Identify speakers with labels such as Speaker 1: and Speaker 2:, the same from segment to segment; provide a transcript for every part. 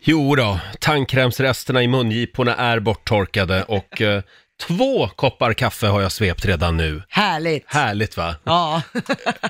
Speaker 1: Jo då, tandkrämsresterna i mungiporna är borttorkade och eh, två koppar kaffe har jag svept redan nu.
Speaker 2: Härligt!
Speaker 1: Härligt va?
Speaker 2: Ja,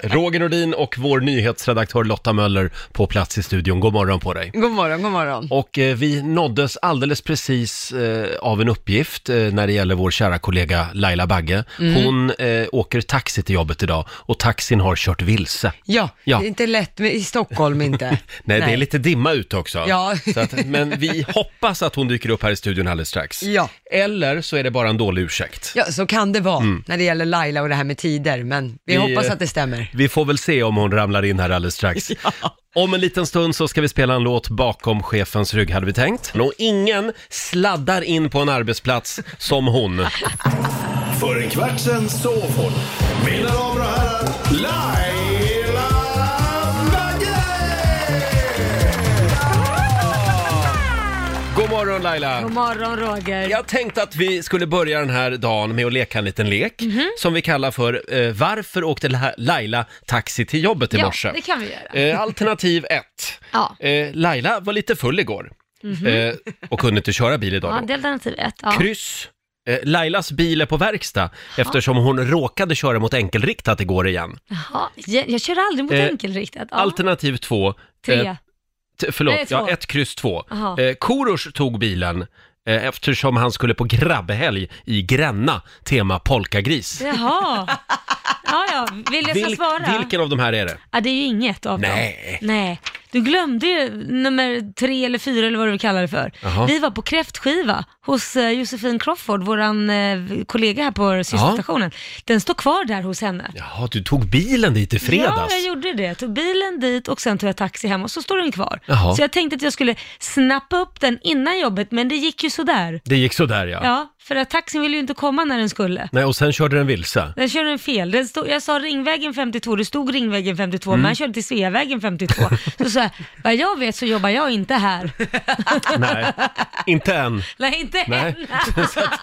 Speaker 1: Roger Nordin och vår nyhetsredaktör Lotta Möller på plats i studion. God morgon på dig!
Speaker 2: god morgon, god morgon.
Speaker 1: Och eh, vi nåddes alldeles precis eh, av en uppgift eh, när det gäller vår kära kollega Laila Bagge. Hon eh, åker taxi till jobbet idag och taxin har kört vilse.
Speaker 2: Ja,
Speaker 1: Ja.
Speaker 2: det är inte lätt med, i Stockholm inte.
Speaker 1: Nej, det är lite dimma ute också.
Speaker 2: Ja.
Speaker 1: Så att, men vi hoppas att hon dyker upp här i studion alldeles strax.
Speaker 2: Ja.
Speaker 1: Eller så är det bara en dålig ursäkt.
Speaker 2: Ja, så kan det vara när det gäller Laila och det här med tider, men vi,
Speaker 1: Mm. Vi,
Speaker 2: hoppas
Speaker 1: eh,
Speaker 2: att det stämmer.
Speaker 1: Vi får väl se om hon ramlar in här alldeles strax. Om en liten stund så ska vi spela en låt bakom chefens rygg hade vi tänkt. Och ingen sladdar in på en arbetsplats som hon.
Speaker 3: För en kvart sen sov hon. Mina damer och herrar, Laila Bagge!
Speaker 1: God morgon Laila!
Speaker 4: God morgon Roger.
Speaker 1: Jag tänkte att vi skulle börja den här dagen med att leka en liten lek
Speaker 4: Mhm.
Speaker 1: som vi kallar för eh, Varför åkte La- Laila taxi till jobbet i
Speaker 4: Ja,
Speaker 1: morse?
Speaker 4: det kan vi göra.
Speaker 1: Eh, alternativ 1.
Speaker 4: Ja. Mhm.
Speaker 1: Eh, Laila var lite full igår eh, och kunde inte köra bil idag.
Speaker 4: Ja,
Speaker 1: då.
Speaker 4: det är alternativ ett. Ja.
Speaker 1: Kryss. Eh, Lailas bil är på verkstad eftersom hon råkade köra mot enkelriktat igår igen.
Speaker 4: Jaha, jag, jag kör aldrig mot
Speaker 1: Eh,
Speaker 4: enkelriktat. Ja.
Speaker 1: Alternativ eh, 2.
Speaker 4: Tre.
Speaker 1: T- förlåt,
Speaker 4: Nej, två.
Speaker 1: ja, ett kryss två.
Speaker 4: Aha.
Speaker 1: Eh, Korosh tog bilen eh, eftersom han skulle på grabbhelg i Gränna, tema polkagris.
Speaker 4: Jaha. Ja, ja. Vill jag ska
Speaker 1: Vilk-
Speaker 4: svara?
Speaker 1: vilken av de här är det?
Speaker 4: Ja, det är ju inget av
Speaker 1: Nej.
Speaker 4: dem. Nej. Du glömde ju nummer tre eller fyra eller vad du vill kalla det för.
Speaker 1: Jaha.
Speaker 4: Vi var på kräftskiva hos eh, Josefin Crawford, våran eh, kollega här på systerstationen. Den står kvar där hos henne.
Speaker 1: Jaha, du tog bilen dit i
Speaker 4: Ja,
Speaker 1: fredags?
Speaker 4: jag gjorde det. Jag tog bilen dit och sen tog jag taxi hem och så står den kvar.
Speaker 1: Jaha.
Speaker 4: Så jag tänkte att jag skulle snappa upp den innan jobbet, men det gick ju sådär.
Speaker 1: Det gick sådär ja.
Speaker 4: Ja, för att taxin ville ju inte komma när den skulle.
Speaker 1: Nej, och sen körde den vilse.
Speaker 4: Den körde en fel. Den stod, jag sa Ringvägen 52, det stod Ringvägen 52,
Speaker 1: Mm.
Speaker 4: men han körde till Sveavägen 52. Så sa jag, vad jag vet så jobbar jag inte här.
Speaker 1: Nej, inte än.
Speaker 4: Nej, inte
Speaker 1: Nej.
Speaker 4: än.
Speaker 1: Så att-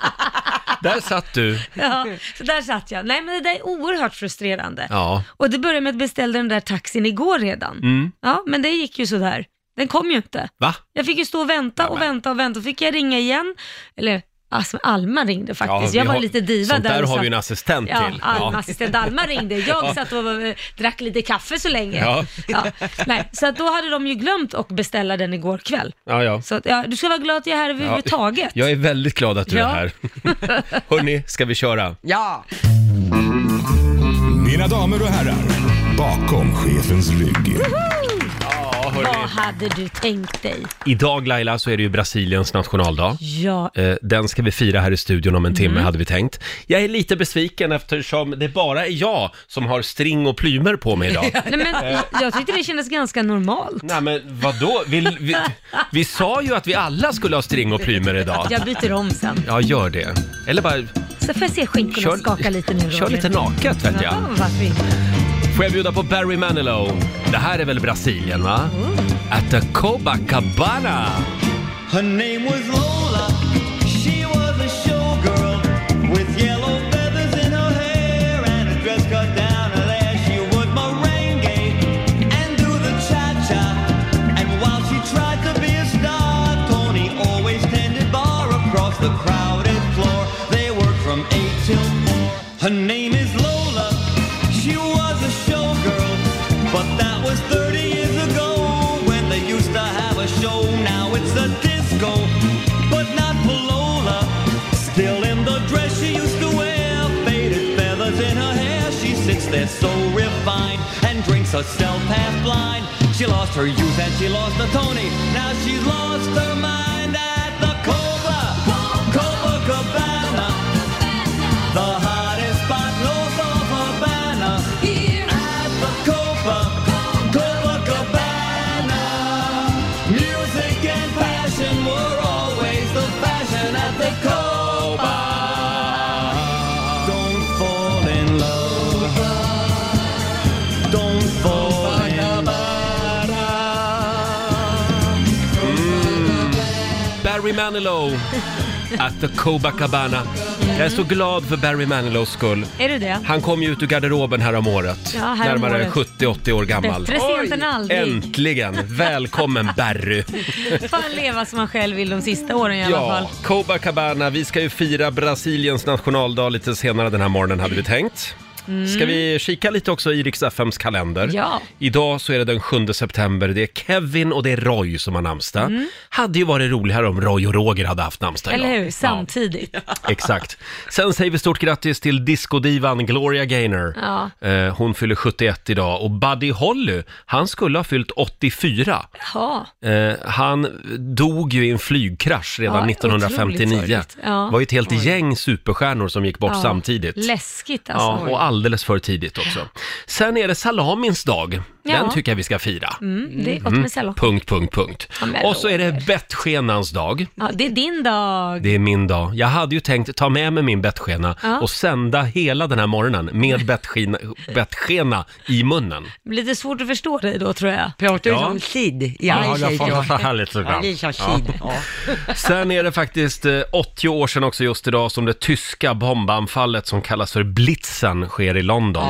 Speaker 1: Där satt du.
Speaker 4: Ja, så där satt jag. Nej, men det där är oerhört frustrerande.
Speaker 1: Ja.
Speaker 4: Och det började med att jag beställde den där taxin igår redan.
Speaker 1: Mm.
Speaker 4: Ja, men det gick ju sådär. Den kom ju inte.
Speaker 1: Va?
Speaker 4: Jag fick ju stå och vänta och vänta och vänta. Då fick jag ringa igen. Eller alltså, Alma ringde faktiskt.
Speaker 1: vi
Speaker 4: jag var
Speaker 1: har-
Speaker 4: lite diva
Speaker 1: sånt
Speaker 4: där.
Speaker 1: där
Speaker 4: och
Speaker 1: har
Speaker 4: satt-
Speaker 1: vi en assistent
Speaker 4: ja,
Speaker 1: till.
Speaker 4: Alma, assistent Alma ringde. Jag satt och eh, drack lite kaffe så länge.
Speaker 1: Ja.
Speaker 4: Ja, nej. Så att då hade de ju glömt att beställa den igår kväll.
Speaker 1: ja, ja.
Speaker 4: Så att, ja, du ska vara glad att jag är här överhuvudtaget.
Speaker 1: Jag är väldigt glad att du
Speaker 4: Ja.
Speaker 1: är här. Hörni, ska vi köra?
Speaker 2: Ja,
Speaker 3: Mina damer och herrar, bakom chefens rygg.
Speaker 4: Vad hade du tänkt dig?
Speaker 1: Idag Laila så är det ju Brasiliens nationaldag.
Speaker 4: Ja,
Speaker 1: Eh, Den ska vi fira här i studion om en timme
Speaker 4: Mm.
Speaker 1: hade vi tänkt. Jag är lite besviken eftersom det bara är jag som har string och plymer på mig idag.
Speaker 4: nej,
Speaker 1: Eh.
Speaker 4: men jag tyckte det kändes ganska normalt.
Speaker 1: Nej men vadå? Vi, vi, vi sa ju att vi alla skulle ha string och plymer idag.
Speaker 4: Jag byter om sen.
Speaker 1: Ja, gör det. Eller bara
Speaker 4: Så får jag se skinkorna
Speaker 1: kör,
Speaker 4: skaka lite nu
Speaker 1: kör lite naket vet jag.
Speaker 4: Ja, varför inte?
Speaker 1: Får jag bjuda på Barry Manilow? Det här är väl Brasilien va?
Speaker 4: Mm.
Speaker 1: Atacoba Cabana!
Speaker 5: Her name was Lola. She was a showgirl with yellow feathers in her hair and a dress cut down her there. She would merengue and do the cha-cha. And while she tried to be a star, Tony always tended bar across the crowded floor. They worked from eight till four. Her name is Lola. She was a showgirl, but that was 30 years ago when they used to have a show. Now it's a disco, but not for Lola. Still in the dress she used to wear, faded feathers in her hair. She sits there so refined and drinks herself half blind. She lost her youth and she lost her Tony. Now she's lost her mind at the Cobra, Cobra Cabana, the hottest spot north of Havana. Here at the Copa, Copa Cabana. Music and passion were always the fashion at the Copa. Don't fall in love. Don't fall in love.
Speaker 1: Barry Manilow at the Copacabana. Jag är så glad för Barry Manilows skull.
Speaker 4: Är du det?
Speaker 1: Han kom ju ut ur garderoben härom året.
Speaker 4: Ja, härom
Speaker 1: närmare
Speaker 4: året.
Speaker 1: 70-80 år gammal.
Speaker 4: Bättre sent än aldrig.
Speaker 1: Äntligen! Välkommen Barry!
Speaker 4: Fan leva som man själv vill de sista åren i alla
Speaker 1: Ja,
Speaker 4: fall.
Speaker 1: Copacabana. Vi ska ju fira Brasiliens nationaldag lite senare den här morgonen hade vi tänkt. Ska vi kika lite också i Rix FMs kalender?
Speaker 4: Mm. Ja.
Speaker 1: Idag så är det den 7 september. Det är Kevin och det är Roy som har namnsdag. Hade ju varit roligare om Roy och Roger hade haft namnsdag idag.
Speaker 4: Mm. Eller hur? Samtidigt.
Speaker 1: Ja, exakt. Sen säger vi stort grattis till discodivan Gloria Gaynor.
Speaker 4: Ja.
Speaker 1: Eh, hon fyller 71 idag och Buddy Holly, han skulle ha fyllt 84.
Speaker 4: Ja.
Speaker 1: Eh, han dog ju i en flygkrasch redan
Speaker 4: Ja,
Speaker 1: 1959.
Speaker 4: otroligt sorgligt. Ja.
Speaker 1: Det var ju ett helt gäng superstjärnor som gick bort
Speaker 4: Ja.
Speaker 1: samtidigt.
Speaker 4: Läskigt
Speaker 1: Ja,
Speaker 4: alltså.
Speaker 1: och alldeles för tidigt också. Sen är det salamins dag. Den
Speaker 4: Ja.
Speaker 1: tycker jag vi ska fira.
Speaker 4: Mm, det är gott med sallad.
Speaker 1: Punkt, punkt, punkt.
Speaker 4: Ja, men
Speaker 1: Och så är det bettskenans dag.
Speaker 4: Ja, det är din dag.
Speaker 1: Det är min dag. Jag hade ju tänkt ta med mig min bettskena
Speaker 4: Ja.
Speaker 1: och sända hela den här morgonen med bettskena, bettskena i munnen.
Speaker 4: Lite svårt att förstå dig då tror jag.
Speaker 2: Pratar du
Speaker 1: Ja.
Speaker 2: som tid? Ja, ja, ja.
Speaker 1: här lite
Speaker 2: Ja, det är som tid. Ja.
Speaker 1: Sen är det faktiskt eh, 80 år sedan också just idag som det tyska bombanfallet som kallas för Blitzen sker i London.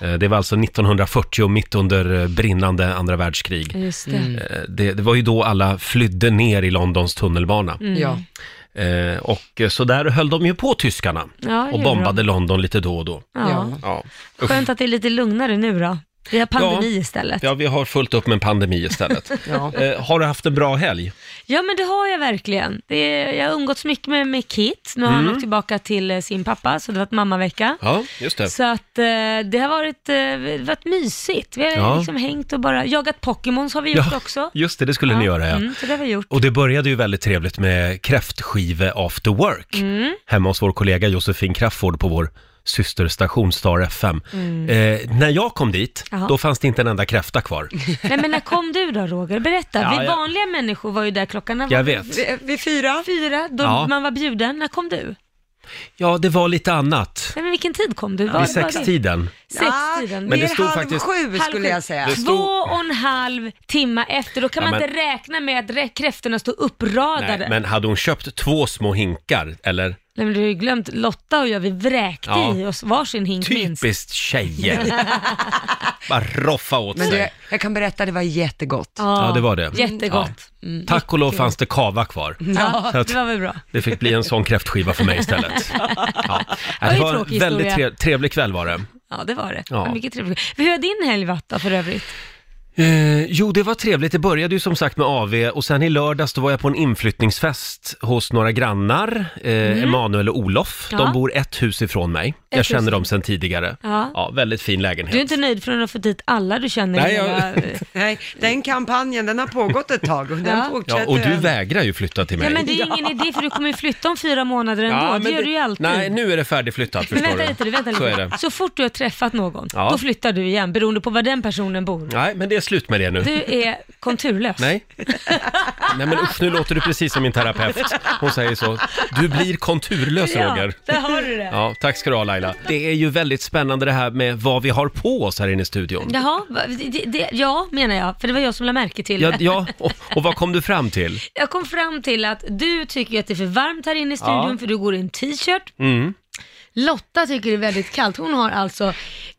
Speaker 4: Ah.
Speaker 1: Eh, Det var alltså 1940, mitt under eh, brinnande andra världskrig.
Speaker 4: Just det.
Speaker 1: Eh, Det, det var ju då alla flydde ner i Londons tunnelbana.
Speaker 4: Mm.
Speaker 2: ja.
Speaker 1: Eh, Och eh, så där höll de ju på tyskarna
Speaker 4: Ja, det
Speaker 1: och
Speaker 4: gjorde
Speaker 1: bombade London lite då och då.
Speaker 4: Ja. Skönt att det är lite lugnare nu då. Vi har pandemi
Speaker 1: Ja.
Speaker 4: istället. Ja.
Speaker 1: Ja, vi har fullt upp med en pandemi istället.
Speaker 2: Ja.
Speaker 1: eh, har du haft en bra helg?
Speaker 4: men det har jag verkligen. Det är, jag har umgåtts mycket med, med Kit. Nu har
Speaker 1: Mm.
Speaker 4: han åkt tillbaka till eh, sin pappa, så det har varit mammavecka.
Speaker 1: Ja, just det.
Speaker 4: Så att eh, det har varit, eh, varit mysigt. Vi har
Speaker 1: Ja.
Speaker 4: liksom hängt och bara jagat Pokémons har vi gjort också.
Speaker 1: just det, det skulle ni göra ja.
Speaker 4: Mm, så det har vi gjort.
Speaker 1: Och det började ju väldigt trevligt med kräftskive after work hemma hos vår kollega Josefin Crafoord på vår systerstation Star FM. Eh, när jag kom dit,
Speaker 4: Jaha.
Speaker 1: då fanns det inte en enda kräfta kvar.
Speaker 4: Nej men när kom du då Roger? Berätta.
Speaker 1: Ja,
Speaker 4: vi
Speaker 1: jag-
Speaker 4: vanliga människor var ju där klockan när
Speaker 1: Jag
Speaker 4: var-
Speaker 1: vet.
Speaker 2: Vi, vi fyra.
Speaker 4: fyra, då
Speaker 1: Ja.
Speaker 4: man var bjuden. När kom du? Nej
Speaker 1: Ja, det var lite annat.
Speaker 4: men vilken tid kom du? Var,
Speaker 1: Vid sextiden.
Speaker 4: Sextiden.
Speaker 2: Ja,
Speaker 1: Men
Speaker 2: men
Speaker 1: det
Speaker 2: det
Speaker 1: stod
Speaker 2: halv
Speaker 1: faktiskt-
Speaker 2: sju
Speaker 4: Halv
Speaker 2: skulle
Speaker 4: sju.
Speaker 2: jag säga.
Speaker 1: Det stod-
Speaker 4: Två och en halv timme efter, då kan
Speaker 1: Ja,
Speaker 4: man
Speaker 1: men-
Speaker 4: inte räkna med att rä- kräftorna står
Speaker 1: Nej,
Speaker 4: uppradade. Nej men,
Speaker 1: men hade hon köpt två små hinkar, eller?
Speaker 4: du har ju glömt, Lotta och jag vi vräkte
Speaker 1: Ja.
Speaker 4: i oss varsin hink minst.
Speaker 1: Typiskt tjejer. Bara roffa åt
Speaker 2: Men du,
Speaker 1: sig.
Speaker 2: jag kan berätta, det var jättegott.
Speaker 1: Ja, det var det.
Speaker 4: Jättegott. Mm,
Speaker 1: Ja. Tack och lov fanns det kava kvar.
Speaker 4: Ja,
Speaker 1: Så att-
Speaker 4: det var väl bra.
Speaker 1: Det fick bli en sån kräftskiva för mig istället. Ja.
Speaker 4: var
Speaker 1: Det
Speaker 4: ju
Speaker 1: var en
Speaker 4: tråkig
Speaker 1: väldigt
Speaker 4: historia.
Speaker 1: tre- trevlig kväll var det.
Speaker 4: Ja, det var det.
Speaker 1: Ja.
Speaker 4: Ja. Mycket trevligt. Hur har din helg varit då för övrigt?
Speaker 1: Eh, jo, det var trevligt. Det började ju som sagt med AV och sen i lördags då var jag på en inflyttningsfest hos några grannar, eh, Emanuel och Olof. De
Speaker 4: Mm. Ja.
Speaker 1: bor ett hus ifrån mig. jag
Speaker 4: hus
Speaker 1: känner dem
Speaker 4: ifrån.
Speaker 1: sedan tidigare.
Speaker 4: Ja.
Speaker 1: väldigt fin lägenhet.
Speaker 4: Du är inte nöjd förrän du har fått dit alla du känner? i
Speaker 1: Nej, jag-
Speaker 4: hela-
Speaker 2: Nej, den kampanjen, den har pågått ett tag och den
Speaker 4: Ja.
Speaker 2: fortsätter.
Speaker 1: ja, och du
Speaker 2: än.
Speaker 1: vägrar ju flytta till mig.
Speaker 4: Ja, men det är ju ingen idé för du kommer ju flytta om fyra månader ändå.
Speaker 1: Ja, men
Speaker 4: det gör du ju alltid.
Speaker 1: Nej, nu är det färdigflyttat
Speaker 4: Men
Speaker 1: förstår
Speaker 4: vänta
Speaker 1: du.
Speaker 4: lite, du, vänta
Speaker 1: Så
Speaker 4: lite.
Speaker 1: är
Speaker 4: Så,
Speaker 1: det.
Speaker 4: fort du har träffat någon,
Speaker 1: Ja.
Speaker 4: då flyttar du igen beroende på var den personen bor.
Speaker 1: Nej, men det är slut med det nu.
Speaker 4: Du är konturlös.
Speaker 1: Nej. Nej men usch, nu låter du precis som min terapeut. Hon säger så. Du blir konturlös
Speaker 4: Ja,
Speaker 1: Roger.
Speaker 4: där har du det.
Speaker 1: Ja, tack ska du ha Laila. Det är ju väldigt spännande det här med vad vi har på oss här inne i studion.
Speaker 4: Jaha, va- det, det, ja menar jag, för det var jag som lade märke till
Speaker 1: Ja,
Speaker 4: det.
Speaker 1: ja och, och vad kom du fram till?
Speaker 4: Jag kom fram till att du tycker ju att det är för varmt här inne i studion för du går i en t-shirt. Lotta tycker det är väldigt kallt. Hon har alltså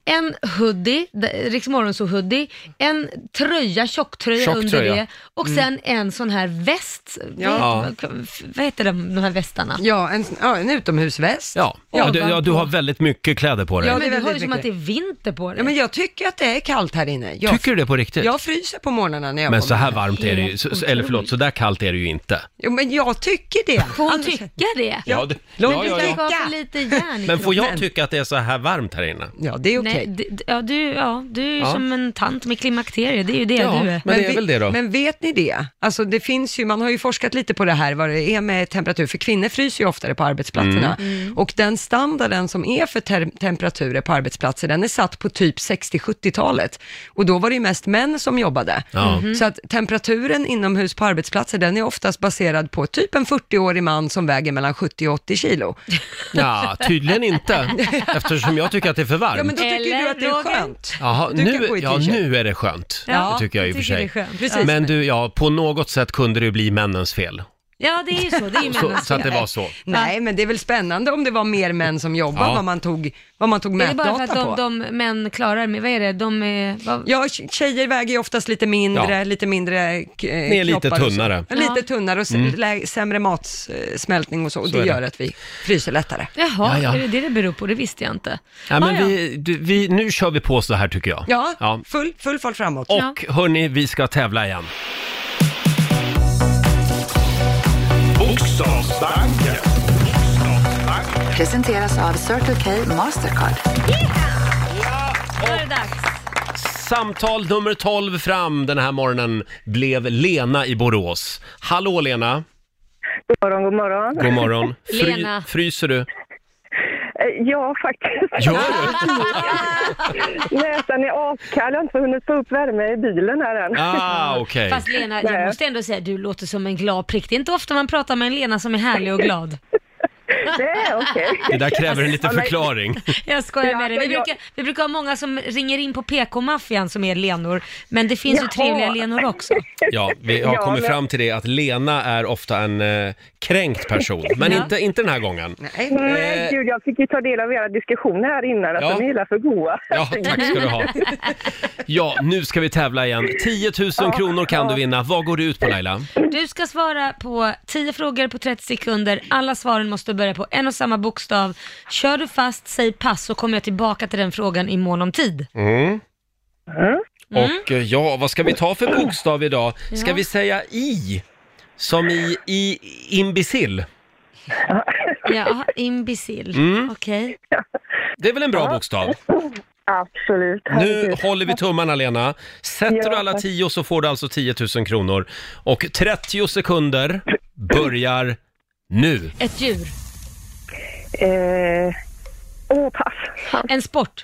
Speaker 4: en hoodie, Rix hoodie, en tröja, tjocktröja
Speaker 1: Tjock
Speaker 4: under
Speaker 1: tröja.
Speaker 4: det och sen en sån här väst.
Speaker 2: Ja.
Speaker 4: Vet- Vad heter de, de här västarna?
Speaker 2: Ja, en, ja, en utomhusväst.
Speaker 1: Ja, ja, du, ja, du har väldigt mycket kläder på dig.
Speaker 2: Ja, det är
Speaker 4: men du har ju
Speaker 2: väldigt
Speaker 4: som att det är
Speaker 2: mycket.
Speaker 4: vinter på dig.
Speaker 2: Ja, men jag tycker att det är kallt här inne. Jag,
Speaker 1: Tycker du det på riktigt?
Speaker 2: jag fryser på morgnarna när jag
Speaker 1: Men
Speaker 2: kommer.
Speaker 1: så här varmt är det ju, så- så- eller förlåt, så där kallt är det ju inte.
Speaker 2: Jo, men jag tycker det.
Speaker 4: Får hon
Speaker 2: Annars-
Speaker 4: tycka det?
Speaker 1: Ja, det-
Speaker 4: Men
Speaker 1: ja,
Speaker 4: du
Speaker 1: ja,
Speaker 4: kanske
Speaker 1: ja.
Speaker 4: har för lite järn i
Speaker 1: Men får jag
Speaker 4: kroppen.
Speaker 1: tycka att det är så här varmt här inne?
Speaker 2: Ja, det är okej.
Speaker 4: Nej, d- d- ja, du, ja, du är ju som en tant med klimakterier, det är ju det
Speaker 1: Ja.
Speaker 4: du är.
Speaker 1: Men det är
Speaker 2: vi-
Speaker 1: väl det då?
Speaker 2: Men vet ni det? Alltså det finns ju, man har ju forskat lite på det här, vad det är med temperatur, för kvinnor fryser ju oftare på arbetsplatserna.
Speaker 1: Mm.
Speaker 4: Mm.
Speaker 2: Och den standarden som är för ter- temperaturer på arbetsplatser, den är satt på typ 60-70-talet. Och då var det ju mest män som jobbade.
Speaker 1: Ja.
Speaker 4: Mhm.
Speaker 2: Så att temperaturen inomhus på arbetsplatser, den är oftast baserad på typ en 40-årig man som väger mellan 70 och 80 kilo.
Speaker 1: Ja, tydligen inte, eftersom jag tycker att det är för
Speaker 2: Ja, men
Speaker 1: varmt.
Speaker 2: då tycker
Speaker 4: Eller,
Speaker 2: du att det är
Speaker 4: Roger?
Speaker 2: skönt.
Speaker 1: Jaha,
Speaker 2: du kan
Speaker 1: nu,
Speaker 2: gå i
Speaker 1: ja,
Speaker 2: t-shirt.
Speaker 1: nu är det skönt.
Speaker 4: Ja,
Speaker 1: det tycker jag i och
Speaker 4: jag
Speaker 1: för
Speaker 4: tycker
Speaker 1: sig.
Speaker 4: det är skönt.
Speaker 2: Precis.
Speaker 1: Men du, ja, på något sätt kunde det ju bli männens fel.
Speaker 4: Ja, det är ju så. Det är ju
Speaker 1: Så,
Speaker 4: männens
Speaker 1: så att det
Speaker 4: fel.
Speaker 1: var så.
Speaker 2: Nej, men det är väl spännande om det var mer män som jobbade,
Speaker 1: Ja.
Speaker 2: vad man tog, vad man tog
Speaker 4: Är det bara för
Speaker 2: mätdata
Speaker 4: att
Speaker 2: på.
Speaker 4: de, de män klarar med, vad är det, de är, vad,
Speaker 2: Ja, tjejer väger ju oftast lite mindre,
Speaker 1: Ja.
Speaker 2: lite mindre eh,
Speaker 1: är lite
Speaker 2: kroppar och så.
Speaker 1: tunnare. Mm.
Speaker 2: Ja.
Speaker 4: Ja.
Speaker 2: Lite tunnare och s- lä- sämre matsmältning och så. Och
Speaker 1: är
Speaker 2: det
Speaker 1: det.
Speaker 2: gör att vi fryser lättare.
Speaker 4: jaha,
Speaker 1: Ja, ja.
Speaker 4: är det det det beror på? Det visste jag inte.
Speaker 1: Ja, men
Speaker 4: Ah, ja.
Speaker 1: vi, du, vi, nu kör vi på så här tycker jag.
Speaker 2: Ja, Full, full fart framåt.
Speaker 1: Och hörni, vi ska tävla igen.
Speaker 3: Bokstavsbanken.
Speaker 6: Presenteras av Circle K Mastercard.
Speaker 4: Då är det dags.
Speaker 1: Samtal nummer 12 fram den här morgonen blev Lena i Borås. Hallå Lena!
Speaker 7: God morgon, god morgon.
Speaker 1: God morgon.
Speaker 4: Lena.
Speaker 1: Fryser du?
Speaker 7: Eh, Ja, faktiskt.
Speaker 1: Gör du?
Speaker 7: Näsan är askall. Jag har inte hunnit få upp värme i bilen här än.
Speaker 1: Ah, okej.
Speaker 4: Fast Lena, jag
Speaker 7: Nej.
Speaker 4: måste ändå säga, du låter som en glad prick. Det är inte ofta man pratar med en Lena som är härlig och glad.
Speaker 7: Det är okej.
Speaker 1: Det där kräver en liten förklaring.
Speaker 4: Jag skojar med dig. Vi
Speaker 7: alltså, jag-
Speaker 4: brukar, vi brukar ha många som ringer in på PK-maffian som är Lenor, men det finns ju
Speaker 7: Jaha.
Speaker 4: trevliga Lenor också.
Speaker 1: Ja, vi har
Speaker 7: Ja,
Speaker 1: kommit
Speaker 7: men-
Speaker 1: fram till det att Lena är ofta en eh, kränkt person. Men
Speaker 4: Ja.
Speaker 1: inte, inte den här gången.
Speaker 2: Nej.
Speaker 7: Men
Speaker 1: Eh.
Speaker 7: Mm, gud, jag fick ju ta del av era diskussioner här innan. Alltså,
Speaker 1: Ja.
Speaker 7: ni är hela för goa.
Speaker 1: Ja, tack ska du ha. Ja, nu ska vi tävla igen. 10 000 kronor kan du vinna. Vad går det ut på Laila?
Speaker 4: Du ska svara på 10 frågor på 30 sekunder. Alla svaren måste börja på en och samma bokstav. Kör du fast, säg pass, så kommer jag tillbaka till den frågan i mån om tid.
Speaker 7: Mm.
Speaker 1: Och eh, ja, vad ska vi ta för bokstav idag? Ska
Speaker 4: Ja.
Speaker 1: vi säga i? Som i, i imbecill.
Speaker 4: Ja, imbecill.
Speaker 1: Mm.
Speaker 4: Okej.
Speaker 1: Det är väl en bra bokstav?
Speaker 7: Absolut.
Speaker 1: Nu
Speaker 7: Herregud.
Speaker 1: håller vi tummarna Lena. Sätter
Speaker 7: Ja,
Speaker 1: du alla
Speaker 7: tack.
Speaker 1: 10 så får du alltså 10 000 kronor. Och 30 sekunder börjar nu.
Speaker 4: Ett djur.
Speaker 7: Eh, Åh, pass.
Speaker 4: En sport.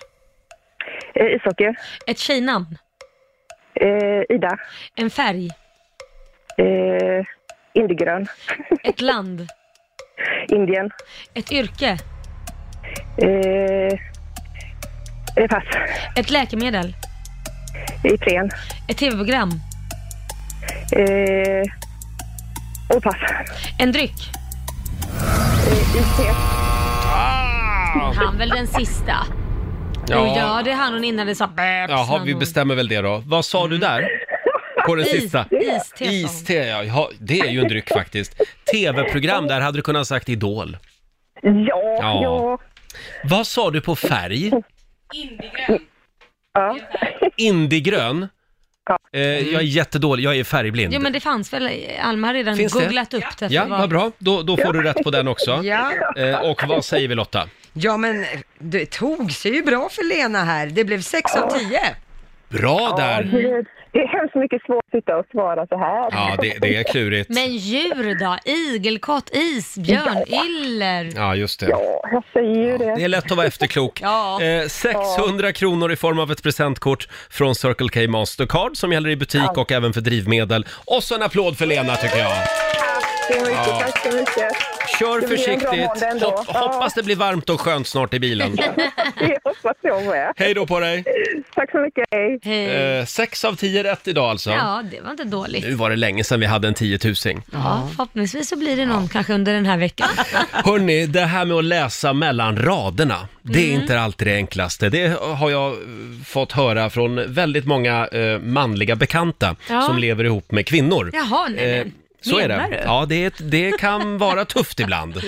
Speaker 7: Eh, ishockey.
Speaker 4: Ett tjejnamn.
Speaker 7: Eh, Ida.
Speaker 4: En färg.
Speaker 7: Eh, Indigrön.
Speaker 4: Ett land.
Speaker 7: Indien.
Speaker 4: Ett yrke.
Speaker 7: Eh, eh, pass.
Speaker 4: Ett läkemedel.
Speaker 7: Ipren.
Speaker 4: Ett tv-program.
Speaker 7: Eh, Åh, pass.
Speaker 4: En dryck.
Speaker 7: IT.
Speaker 4: Han väl den sista? Ja,
Speaker 1: Ja.
Speaker 4: det hann hon innan det sa bäps.
Speaker 1: Jaha,
Speaker 4: hann
Speaker 1: vi
Speaker 4: hon.
Speaker 1: bestämmer väl det då. Vad sa du där? På den
Speaker 4: Mm. Is-
Speaker 1: sista?
Speaker 4: iste sa hon.
Speaker 1: Iste, ja. ja. Det är ju en dryck faktiskt. TV-program, där hade du kunnat sagt Idol.
Speaker 7: Ja,
Speaker 1: Ja.
Speaker 7: ja. ja.
Speaker 1: Vad sa du på färg? Indigrön?
Speaker 7: Ja.
Speaker 1: Eh, jag är jättedålig, jag är färgblind.
Speaker 4: Ja men det fanns väl, Alma har redan
Speaker 1: Finns det?
Speaker 4: googlat upp det.
Speaker 1: Ja,
Speaker 4: för
Speaker 1: vad bra. Då, då får du rätt på den också.
Speaker 2: Ja.
Speaker 1: Eh, och vad säger vi Lotta?
Speaker 2: ja, men eh, det tog sig ju bra för Lena här. Det blev 6 av 10.
Speaker 1: Bra där!
Speaker 7: Gud, Det är hemskt mycket svårt att sitta och svara så här.
Speaker 1: Ja, det, det är klurigt.
Speaker 4: Men djur då? Igelkott, isbjörn, iller.
Speaker 1: Ja, just det.
Speaker 7: Ja, jag säger ju det.
Speaker 1: Det är lätt att vara efterklok.
Speaker 4: Ja.
Speaker 1: Eh, 600 kronor i form av ett presentkort från Circle K Mastercard som gäller i butik och även för drivmedel. Och så en applåd för Lena tycker jag.
Speaker 7: Tack så mycket, tack så mycket.
Speaker 1: Kör
Speaker 7: Det blir en bra måndag
Speaker 1: försiktigt.
Speaker 7: ändå.
Speaker 1: Hop-
Speaker 7: Ja.
Speaker 1: hoppas det blir varmt och skönt snart i bilen.
Speaker 7: Det hoppas jag med.
Speaker 1: Hej då på dig!
Speaker 7: Tack så mycket, hej.
Speaker 4: Hej.
Speaker 1: Eh, 6 av 10 rätt idag alltså.
Speaker 4: Ja, det var inte dåligt.
Speaker 1: Nu var det länge sedan vi hade en 10 000.
Speaker 4: Ja, förhoppningsvis så blir det någon kanske under den här veckan.
Speaker 1: Hörni, det här med att läsa mellan raderna, det
Speaker 7: Mm.
Speaker 1: är inte alltid det enklaste. Det har jag eh, fått höra från väldigt många eh, manliga bekanta
Speaker 4: Ja.
Speaker 1: som lever ihop med kvinnor.
Speaker 4: Jaha, nej, nej.
Speaker 1: Eh, så är
Speaker 4: Menar
Speaker 1: det.
Speaker 4: du?
Speaker 1: Ja, det, är- det kan vara tufft ibland.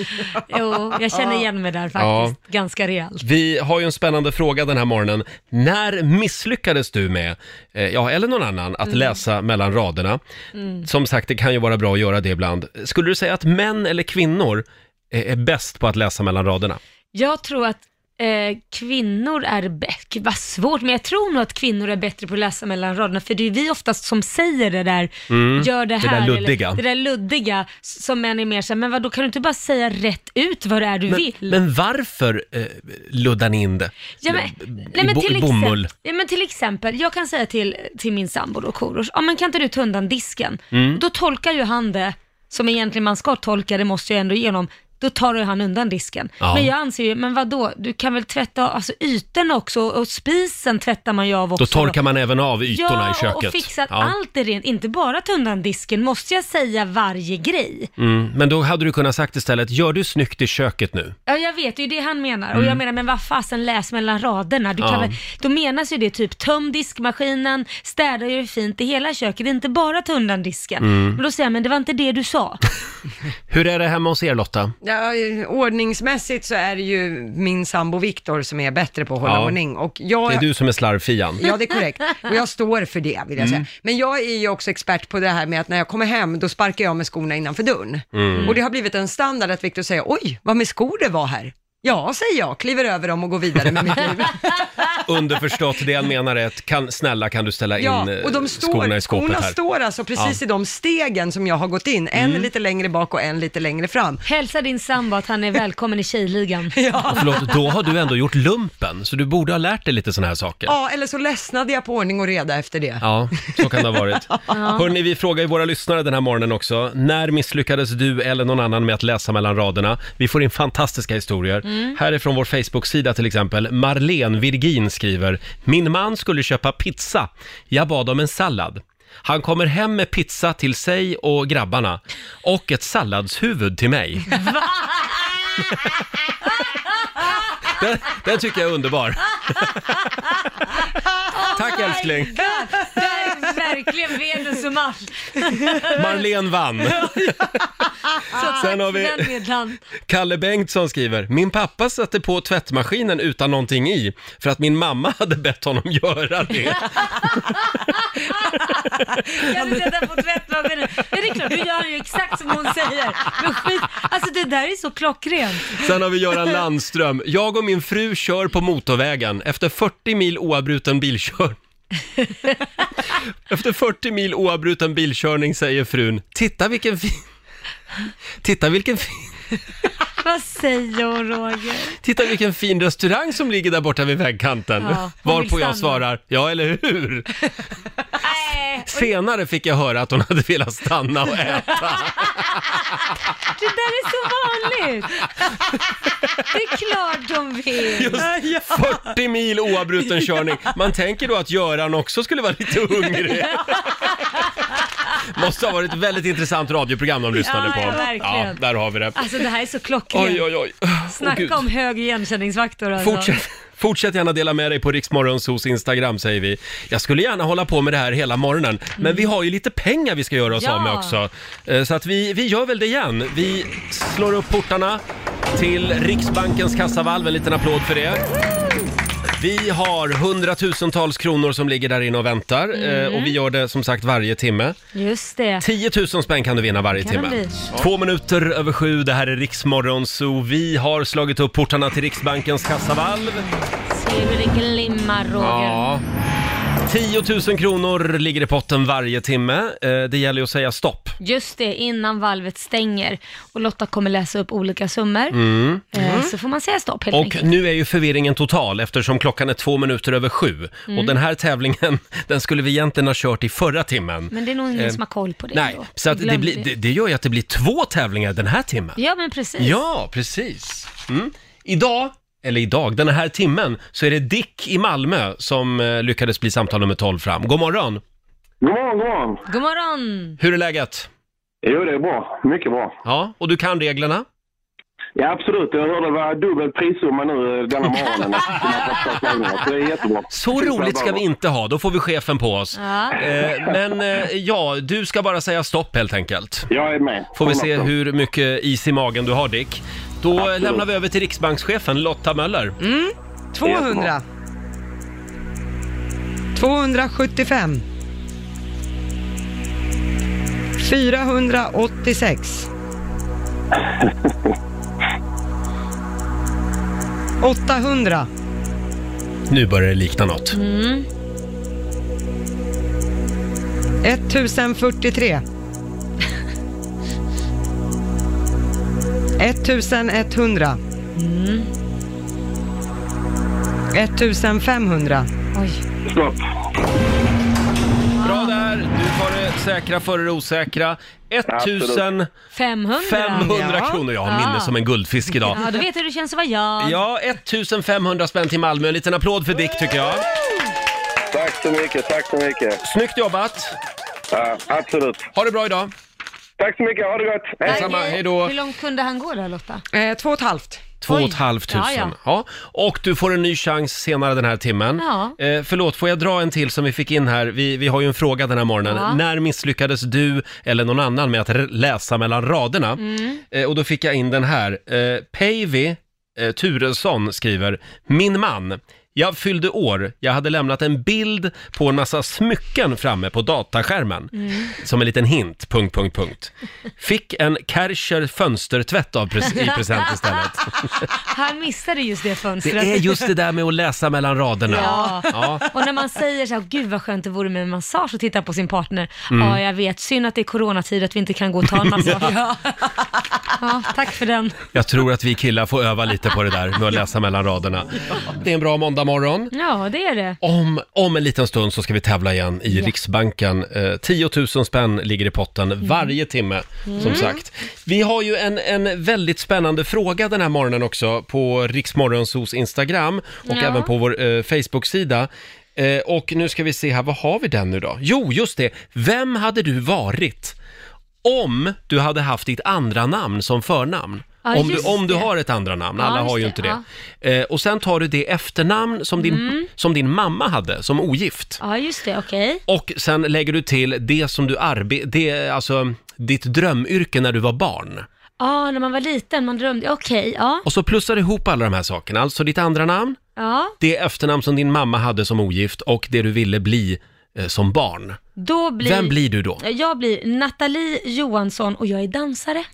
Speaker 4: Jo, jag känner igen mig där faktiskt. Ganska rejält.
Speaker 1: Vi har ju en spännande fråga den här morgonen. När misslyckades du med, eh, ja, eller någon annan, att
Speaker 4: Mm.
Speaker 1: läsa mellan raderna? Som sagt, det kan ju vara bra att göra det ibland. Skulle du säga att män eller kvinnor eh, är bäst på att läsa mellan raderna?
Speaker 4: Jag tror att eh, kvinnor är bättre, vad svårt, men jag tror nog att kvinnor är bättre på att läsa mellan raderna, för det är vi oftast som säger det där, gör det här, eller-
Speaker 1: luddiga.
Speaker 4: det där luddiga, s- som män är mer såhär, men vadå, kan du inte bara säga rätt ut vad det är du vill?
Speaker 1: Men varför eh, luddar ni in det?
Speaker 4: Ja, men, nej, men
Speaker 1: bo-
Speaker 4: till
Speaker 1: bomull.
Speaker 4: Exempel, ja, men till exempel, jag kan säga till, till min sambo då, Korosh, ja men kan inte du
Speaker 1: Mm.
Speaker 4: ta undan disken? Då tolkar ju han det, som egentligen man ska tolka det, måste jag ändå igenom, då tar ju han undan disken.
Speaker 1: Ja.
Speaker 4: Men jag anser ju, men vadå, du kan väl tvätta alltså ytorna också och spisen tvättar man ju av också.
Speaker 1: Då torkar man även av ytorna
Speaker 4: ja,
Speaker 1: i köket.
Speaker 4: och, och fixar
Speaker 1: Ja.
Speaker 4: allt är rent. Inte bara ta undan disken, måste jag säga varje grej?
Speaker 1: Mm, men då hade du kunnat sagt istället, gör du snyggt i köket nu?
Speaker 4: Ja, jag vet, det är ju det han menar. Och jag menar, men vad fasen, läs mellan raderna. Du kan
Speaker 1: Mm. Ja.
Speaker 4: väl, då menas ju det typ, töm diskmaskinen, städa och gör fint i hela köket, inte bara ta undan disken.
Speaker 1: Mm.
Speaker 4: Men då säger jag, men det var inte det du sa.
Speaker 1: Hur är det hemma hos er Lotta?
Speaker 2: Ja, eh, ordningsmässigt så är det ju min sambo Viktor som är bättre på att hålla
Speaker 1: Ja.
Speaker 2: ordning. Och jag,
Speaker 1: Det är du som är slarvfian.
Speaker 2: Ja, det är korrekt. Och jag står för det, vill jag säga.
Speaker 1: Mm.
Speaker 2: Men jag är ju också expert på det här med att när jag kommer hem, då sparkar jag med skorna innanför dörren.
Speaker 1: Mm.
Speaker 2: Och det har blivit en standard att Viktor säger, oj, vad med skor det var här. Ja, säger jag, kliver över dem och går vidare med mitt liv.
Speaker 1: Underförstått, det han menar är att kan, snälla kan du ställa in
Speaker 2: Ja,
Speaker 1: eh,
Speaker 2: och de står,
Speaker 1: skorna i skåpet
Speaker 2: skorna
Speaker 1: här? Mm.
Speaker 2: står alltså precis i de stegen som jag har gått in, en lite längre bak och en lite längre fram.
Speaker 4: Hälsa din sambo att han är välkommen i tjejligan.
Speaker 1: Ja, förlåt, då har du ändå gjort lumpen, så du borde ha lärt dig lite sådana här saker.
Speaker 2: Ja, eller så ledsnade jag på ordning och reda efter det.
Speaker 1: Ja, så kan det ha varit. Hörni, vi frågar ju våra lyssnare den här morgonen också. När misslyckades du eller någon annan med att läsa mellan raderna? Vi får in fantastiska historier. Här är från vår Facebook-sida till exempel. Marlene Virgin skriver, min man skulle köpa pizza. Jag bad om en sallad. Han kommer hem med pizza till sig och grabbarna och ett salladshuvud till mig. Den, den tycker jag är underbar.
Speaker 4: Oh
Speaker 1: Tack älskling.
Speaker 4: Där verkligen Venus och Mars.
Speaker 1: Marlene vann.
Speaker 4: Så
Speaker 1: Sen
Speaker 4: tack
Speaker 1: har
Speaker 4: har
Speaker 1: vi-
Speaker 4: vi... den medlan.
Speaker 1: Kalle Bengtsson skriver, min pappa satte på tvättmaskinen utan någonting i för att min mamma hade bett honom göra det.
Speaker 4: Kan du sätta på tvättmaskinen? Ja, det är klart, du gör ju exakt som hon säger. Men skit, alltså det där är så klockrent.
Speaker 1: Sen har vi Göran Landström, jag och min fru kör på motorvägen efter 40 mil oavbruten bilkör. Efter 40 mil oavbruten bilkörning säger frun, titta vilken fin... Titta vilken, fin,
Speaker 4: Vad säger hon Roger?
Speaker 1: titta vilken fin restaurang som ligger där borta vid vägkanten.
Speaker 4: Ja, hon vill
Speaker 1: Varpå jag
Speaker 4: stanna.
Speaker 1: svarar, ja eller hur?
Speaker 4: Nej,
Speaker 1: Senare fick jag höra att hon hade velat stanna och äta.
Speaker 4: det där är så vanligt. Det är klart de vill.
Speaker 1: Just 40 mil oavbruten körning. Man tänker då att Göran också skulle vara lite hungrig. Måste ha varit ett väldigt intressant radioprogram de lyssnade
Speaker 4: Ja,
Speaker 1: på.
Speaker 4: ja, verkligen.
Speaker 1: där har vi det.
Speaker 4: Alltså det här är så klockrent.
Speaker 1: Oj, oj, oj. Åh, Gud.
Speaker 4: Snacka om hög igenkänningsfaktor alltså.
Speaker 1: Fortsätt, fortsätt gärna dela med dig på Riksmorgonsos Instagram säger vi. Jag skulle gärna hålla på med det här hela morgonen, men vi har ju lite pengar vi ska göra oss
Speaker 4: Mm. Ja.
Speaker 1: av med också. Eh, Så att vi, vi gör väl det igen. Vi slår upp portarna till Riksbankens kassavalv. En liten applåd för det. Vi har hundratusentals kronor som ligger där inne och väntar
Speaker 4: Mm.
Speaker 1: eh, och vi gör det som sagt varje timme.
Speaker 4: Just det.
Speaker 1: 10 000 spänn kan du vinna varje
Speaker 4: Kan det
Speaker 1: timme.
Speaker 4: bli?
Speaker 1: Två minuter över sju, det här är Riksmorgon Zoo. Vi har slagit upp portarna till Riksbankens kassavalv.
Speaker 4: Ser hur det glimmar Roger.
Speaker 1: 10 000 kronor ligger i potten varje timme. Eh, Det gäller ju att säga stopp.
Speaker 4: Just det, innan valvet stänger. Och Lotta kommer läsa upp olika summor. Eh, Så får man säga stopp helt
Speaker 1: Mm. Och
Speaker 4: enkelt.
Speaker 1: nu är ju förvirringen total eftersom klockan är två minuter över sju. Och den här tävlingen, den skulle vi egentligen ha kört i förra timmen.
Speaker 4: Men det är nog ingen
Speaker 1: Eh,
Speaker 4: som har koll på det
Speaker 1: Nej,
Speaker 4: ändå.
Speaker 1: så att
Speaker 4: Glöm
Speaker 1: det, blir, det, det gör ju att det blir två tävlingar den här timmen.
Speaker 4: Ja, men precis.
Speaker 1: Ja, precis. Mm. Idag, eller idag, den här timmen, så är det Dick i Malmö som eh, lyckades bli samtal nummer 12 fram. God morgon!
Speaker 8: God morgon, god morgon.
Speaker 4: God morgon!
Speaker 1: Hur är läget?
Speaker 8: Jo, det är bra. Mycket bra.
Speaker 1: Ja, och du kan reglerna?
Speaker 8: Ja, absolut. Jag hörde det var dubbel prissumma nu eh, denna morgonen. Så det är jättebra.
Speaker 1: Så roligt ska vi inte ha, då får vi chefen på oss.
Speaker 4: Ja.
Speaker 1: Eh, men eh, ja, du ska bara säga stopp helt enkelt.
Speaker 8: Jag är med.
Speaker 1: Får vi se hur mycket is i magen du har Dick. Då eh,
Speaker 8: Absolut.
Speaker 1: lämnar vi över till Riksbankschefen Lotta Möller. Mm.
Speaker 2: 200. 275. 486. 800.
Speaker 1: Nu börjar det likna något.
Speaker 4: Mm.
Speaker 2: 1043. 1100. Mm. 1500.
Speaker 4: Oj.
Speaker 8: Stopp.
Speaker 1: Bra där, du tar det säkra före det osäkra. 1500
Speaker 4: 500.
Speaker 1: kronor. Jag har minne som en guldfisk idag.
Speaker 4: Ja, då vet du hur det känns att vara jag.
Speaker 1: Ja, 1500 spänn till Malmö. En liten applåd för Dick tycker jag.
Speaker 8: Tack så mycket, tack så mycket.
Speaker 1: Snyggt jobbat!
Speaker 8: Ja, absolut.
Speaker 1: Ha det bra idag!
Speaker 8: Tack så mycket, ha det gott. Hej.
Speaker 1: Detsamma,
Speaker 4: Okej,
Speaker 1: hej då.
Speaker 4: Hur långt kunde han gå där Lotta?
Speaker 2: Eh, två och ett halvt.
Speaker 1: Två och
Speaker 4: Oj.
Speaker 1: ett halvt
Speaker 4: Ja,
Speaker 1: tusen. Ja,
Speaker 4: ja.
Speaker 1: Och du får en ny chans senare den här timmen.
Speaker 4: Ja.
Speaker 1: Eh, förlåt, får jag dra en till som vi fick in här? Vi, vi har ju en fråga den här morgonen.
Speaker 4: Ja.
Speaker 1: När misslyckades du eller någon annan med att r- läsa mellan raderna?
Speaker 4: Mm.
Speaker 1: Eh, och då fick jag in den här. Eh, Päivi eh, Turesson skriver, min man. Jag fyllde år, jag hade lämnat en bild på en massa smycken framme på dataskärmen.
Speaker 4: Mm.
Speaker 1: Som en liten hint, punkt, punkt, punkt. Fick en Kärcher fönstertvätt av pres- i present istället.
Speaker 4: Han missade just det
Speaker 1: Det
Speaker 4: fönstret.
Speaker 1: är just det där med att läsa mellan raderna.
Speaker 4: Ja.
Speaker 1: Ja.
Speaker 4: Och när man säger så här, gud vad skönt det vore med en massage och titta på sin partner.
Speaker 1: Mm.
Speaker 4: Ja, jag vet, synd att det är coronatid att vi inte kan gå och ta en massage. ja. tack för den.
Speaker 1: Jag tror att vi killar får öva lite på det där med att läsa mellan raderna. Det är en bra måndagmorgon.
Speaker 4: Ja, det är det.
Speaker 1: Om, om en liten stund så ska vi tävla igen i Riksbanken. Eh, 10 000 spänn ligger i potten
Speaker 4: Mm.
Speaker 1: varje timme, som sagt. Vi har ju en, en väldigt spännande fråga den här morgonen också på Riksmorgonsos Instagram och
Speaker 4: Ja.
Speaker 1: även på vår eh, Facebook-sida. Eh, och nu ska vi se här, vad har vi den nu då? Jo, just det. Vem hade du varit om du hade haft ditt andra namn som förnamn?
Speaker 4: Ja,
Speaker 1: om du,
Speaker 4: just
Speaker 1: om du
Speaker 4: det.
Speaker 1: har ett andra namn,
Speaker 4: Ja,
Speaker 1: alla
Speaker 4: just
Speaker 1: har ju
Speaker 4: det,
Speaker 1: inte det. Eh, och sen tar du det efternamn som din, som din mamma hade som ogift.
Speaker 4: Mm. Ja, just det, okej.
Speaker 1: Och sen lägger du till det som du arbetar, alltså ditt drömyrke när du var barn.
Speaker 4: Ja, när man var liten, man drömde, okej, ja.
Speaker 1: Och så plussar du ihop alla de här sakerna, alltså ditt andra namn,
Speaker 4: ja.
Speaker 1: det efternamn som din mamma hade som ogift och det du ville bli eh, som barn.
Speaker 4: Då blir...
Speaker 1: Vem blir du då?
Speaker 4: Eh, Jag blir Nathalie Johansson och jag är dansare.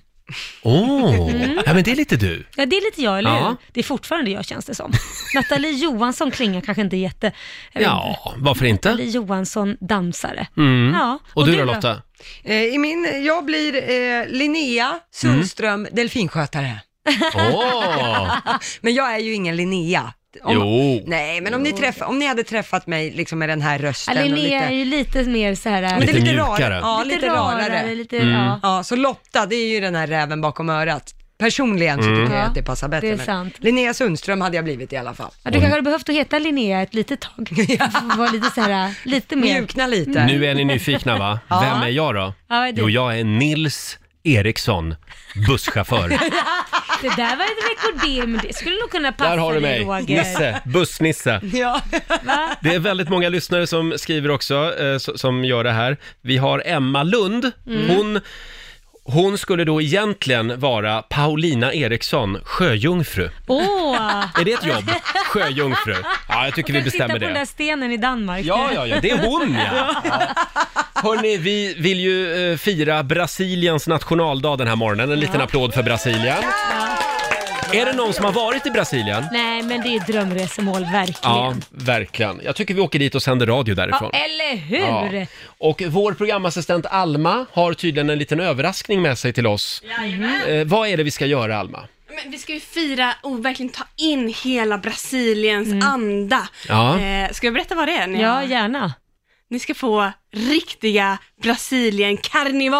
Speaker 1: Åh,
Speaker 4: Mm.
Speaker 1: ja men det är lite du.
Speaker 4: Ja, det är lite jag, eller hur?
Speaker 1: Ja.
Speaker 4: Det är fortfarande jag, känns det som. Nathalie Johansson klingar kanske inte jätte... jag vet inte.
Speaker 1: Ja, varför inte?
Speaker 4: Nathalie Johansson, dansare. Ja.
Speaker 1: Och du då Lotta?
Speaker 2: Eh, i min, jag blir eh, Linnea Sundström,
Speaker 1: Mm.
Speaker 2: delfinskötare. Ah,
Speaker 1: Åh,
Speaker 2: Men jag är ju ingen Linnea. Om,
Speaker 1: jo.
Speaker 2: Nej, men om ni, träffa, om ni hade träffat mig liksom med den här
Speaker 4: Ja,
Speaker 2: rösten och
Speaker 4: Linnea är
Speaker 2: lite...
Speaker 4: ju lite mer så här...
Speaker 2: Men det är
Speaker 1: Lite
Speaker 2: rar-
Speaker 1: mjukare.
Speaker 2: Ja, lite, rarare.
Speaker 4: Lite,
Speaker 1: Mm.
Speaker 4: ja.
Speaker 2: Ja, så Lotta, det är ju den här räven bakom örat. Personligen så
Speaker 1: Mm.
Speaker 2: tycker jag att det passar bättre.
Speaker 4: Det är
Speaker 2: men
Speaker 4: sant.
Speaker 2: Linnea Sundström hade jag blivit i alla fall.
Speaker 4: Ja, du kanske hade behövt att heta Linnea ett litet tag. Var lite så här, lite mer... Mm,
Speaker 2: Mjukna lite.
Speaker 1: Nu är ni nyfikna va? Vem är jag då?
Speaker 4: Ja, vad är du?
Speaker 1: Jo, jag är Nils Eriksson, busschaufför.
Speaker 4: Det där var ett rekordé, men det skulle nog kunna passa
Speaker 1: Där har du
Speaker 4: dig,
Speaker 1: mig,
Speaker 4: Alltså, Roger.
Speaker 1: Nisse, bussnisse.
Speaker 2: Ja.
Speaker 1: Det är väldigt många lyssnare som skriver också, eh, s- som gör det här. Vi har Emma Lund,
Speaker 4: Mm.
Speaker 1: hon, hon skulle då egentligen vara Paulina Eriksson, sjöjungfru.
Speaker 4: Åh!
Speaker 1: Är det ett jobb? Sjöjungfru. Ja, jag tycker vi
Speaker 4: Kan titta på
Speaker 1: bestämmer
Speaker 4: den där
Speaker 1: det.
Speaker 4: stenen i Danmark.
Speaker 1: Ja, ja, ja, det är hon ja. ja. Hörni, vi vill ju eh, fira Brasiliens nationaldag den här morgonen. En liten applåd för Brasilien. Är det någon som har varit i Brasilien?
Speaker 4: Nej, men det är drömresemål, verkligen.
Speaker 1: Ja, verkligen. Jag tycker vi åker dit och sänder radio därifrån.
Speaker 4: Ja, eller
Speaker 1: Ja.
Speaker 4: hur?
Speaker 1: Och vår programassistent Alma har tydligen en liten överraskning med sig till oss. Eh, vad är det vi ska göra, Alma?
Speaker 9: Men vi ska ju fira och verkligen ta in hela Brasiliens anda.
Speaker 1: Ja.
Speaker 9: Eh, ska jag berätta vad det är? Ni,
Speaker 4: Ja, gärna.
Speaker 9: ni ska få riktiga Brasilien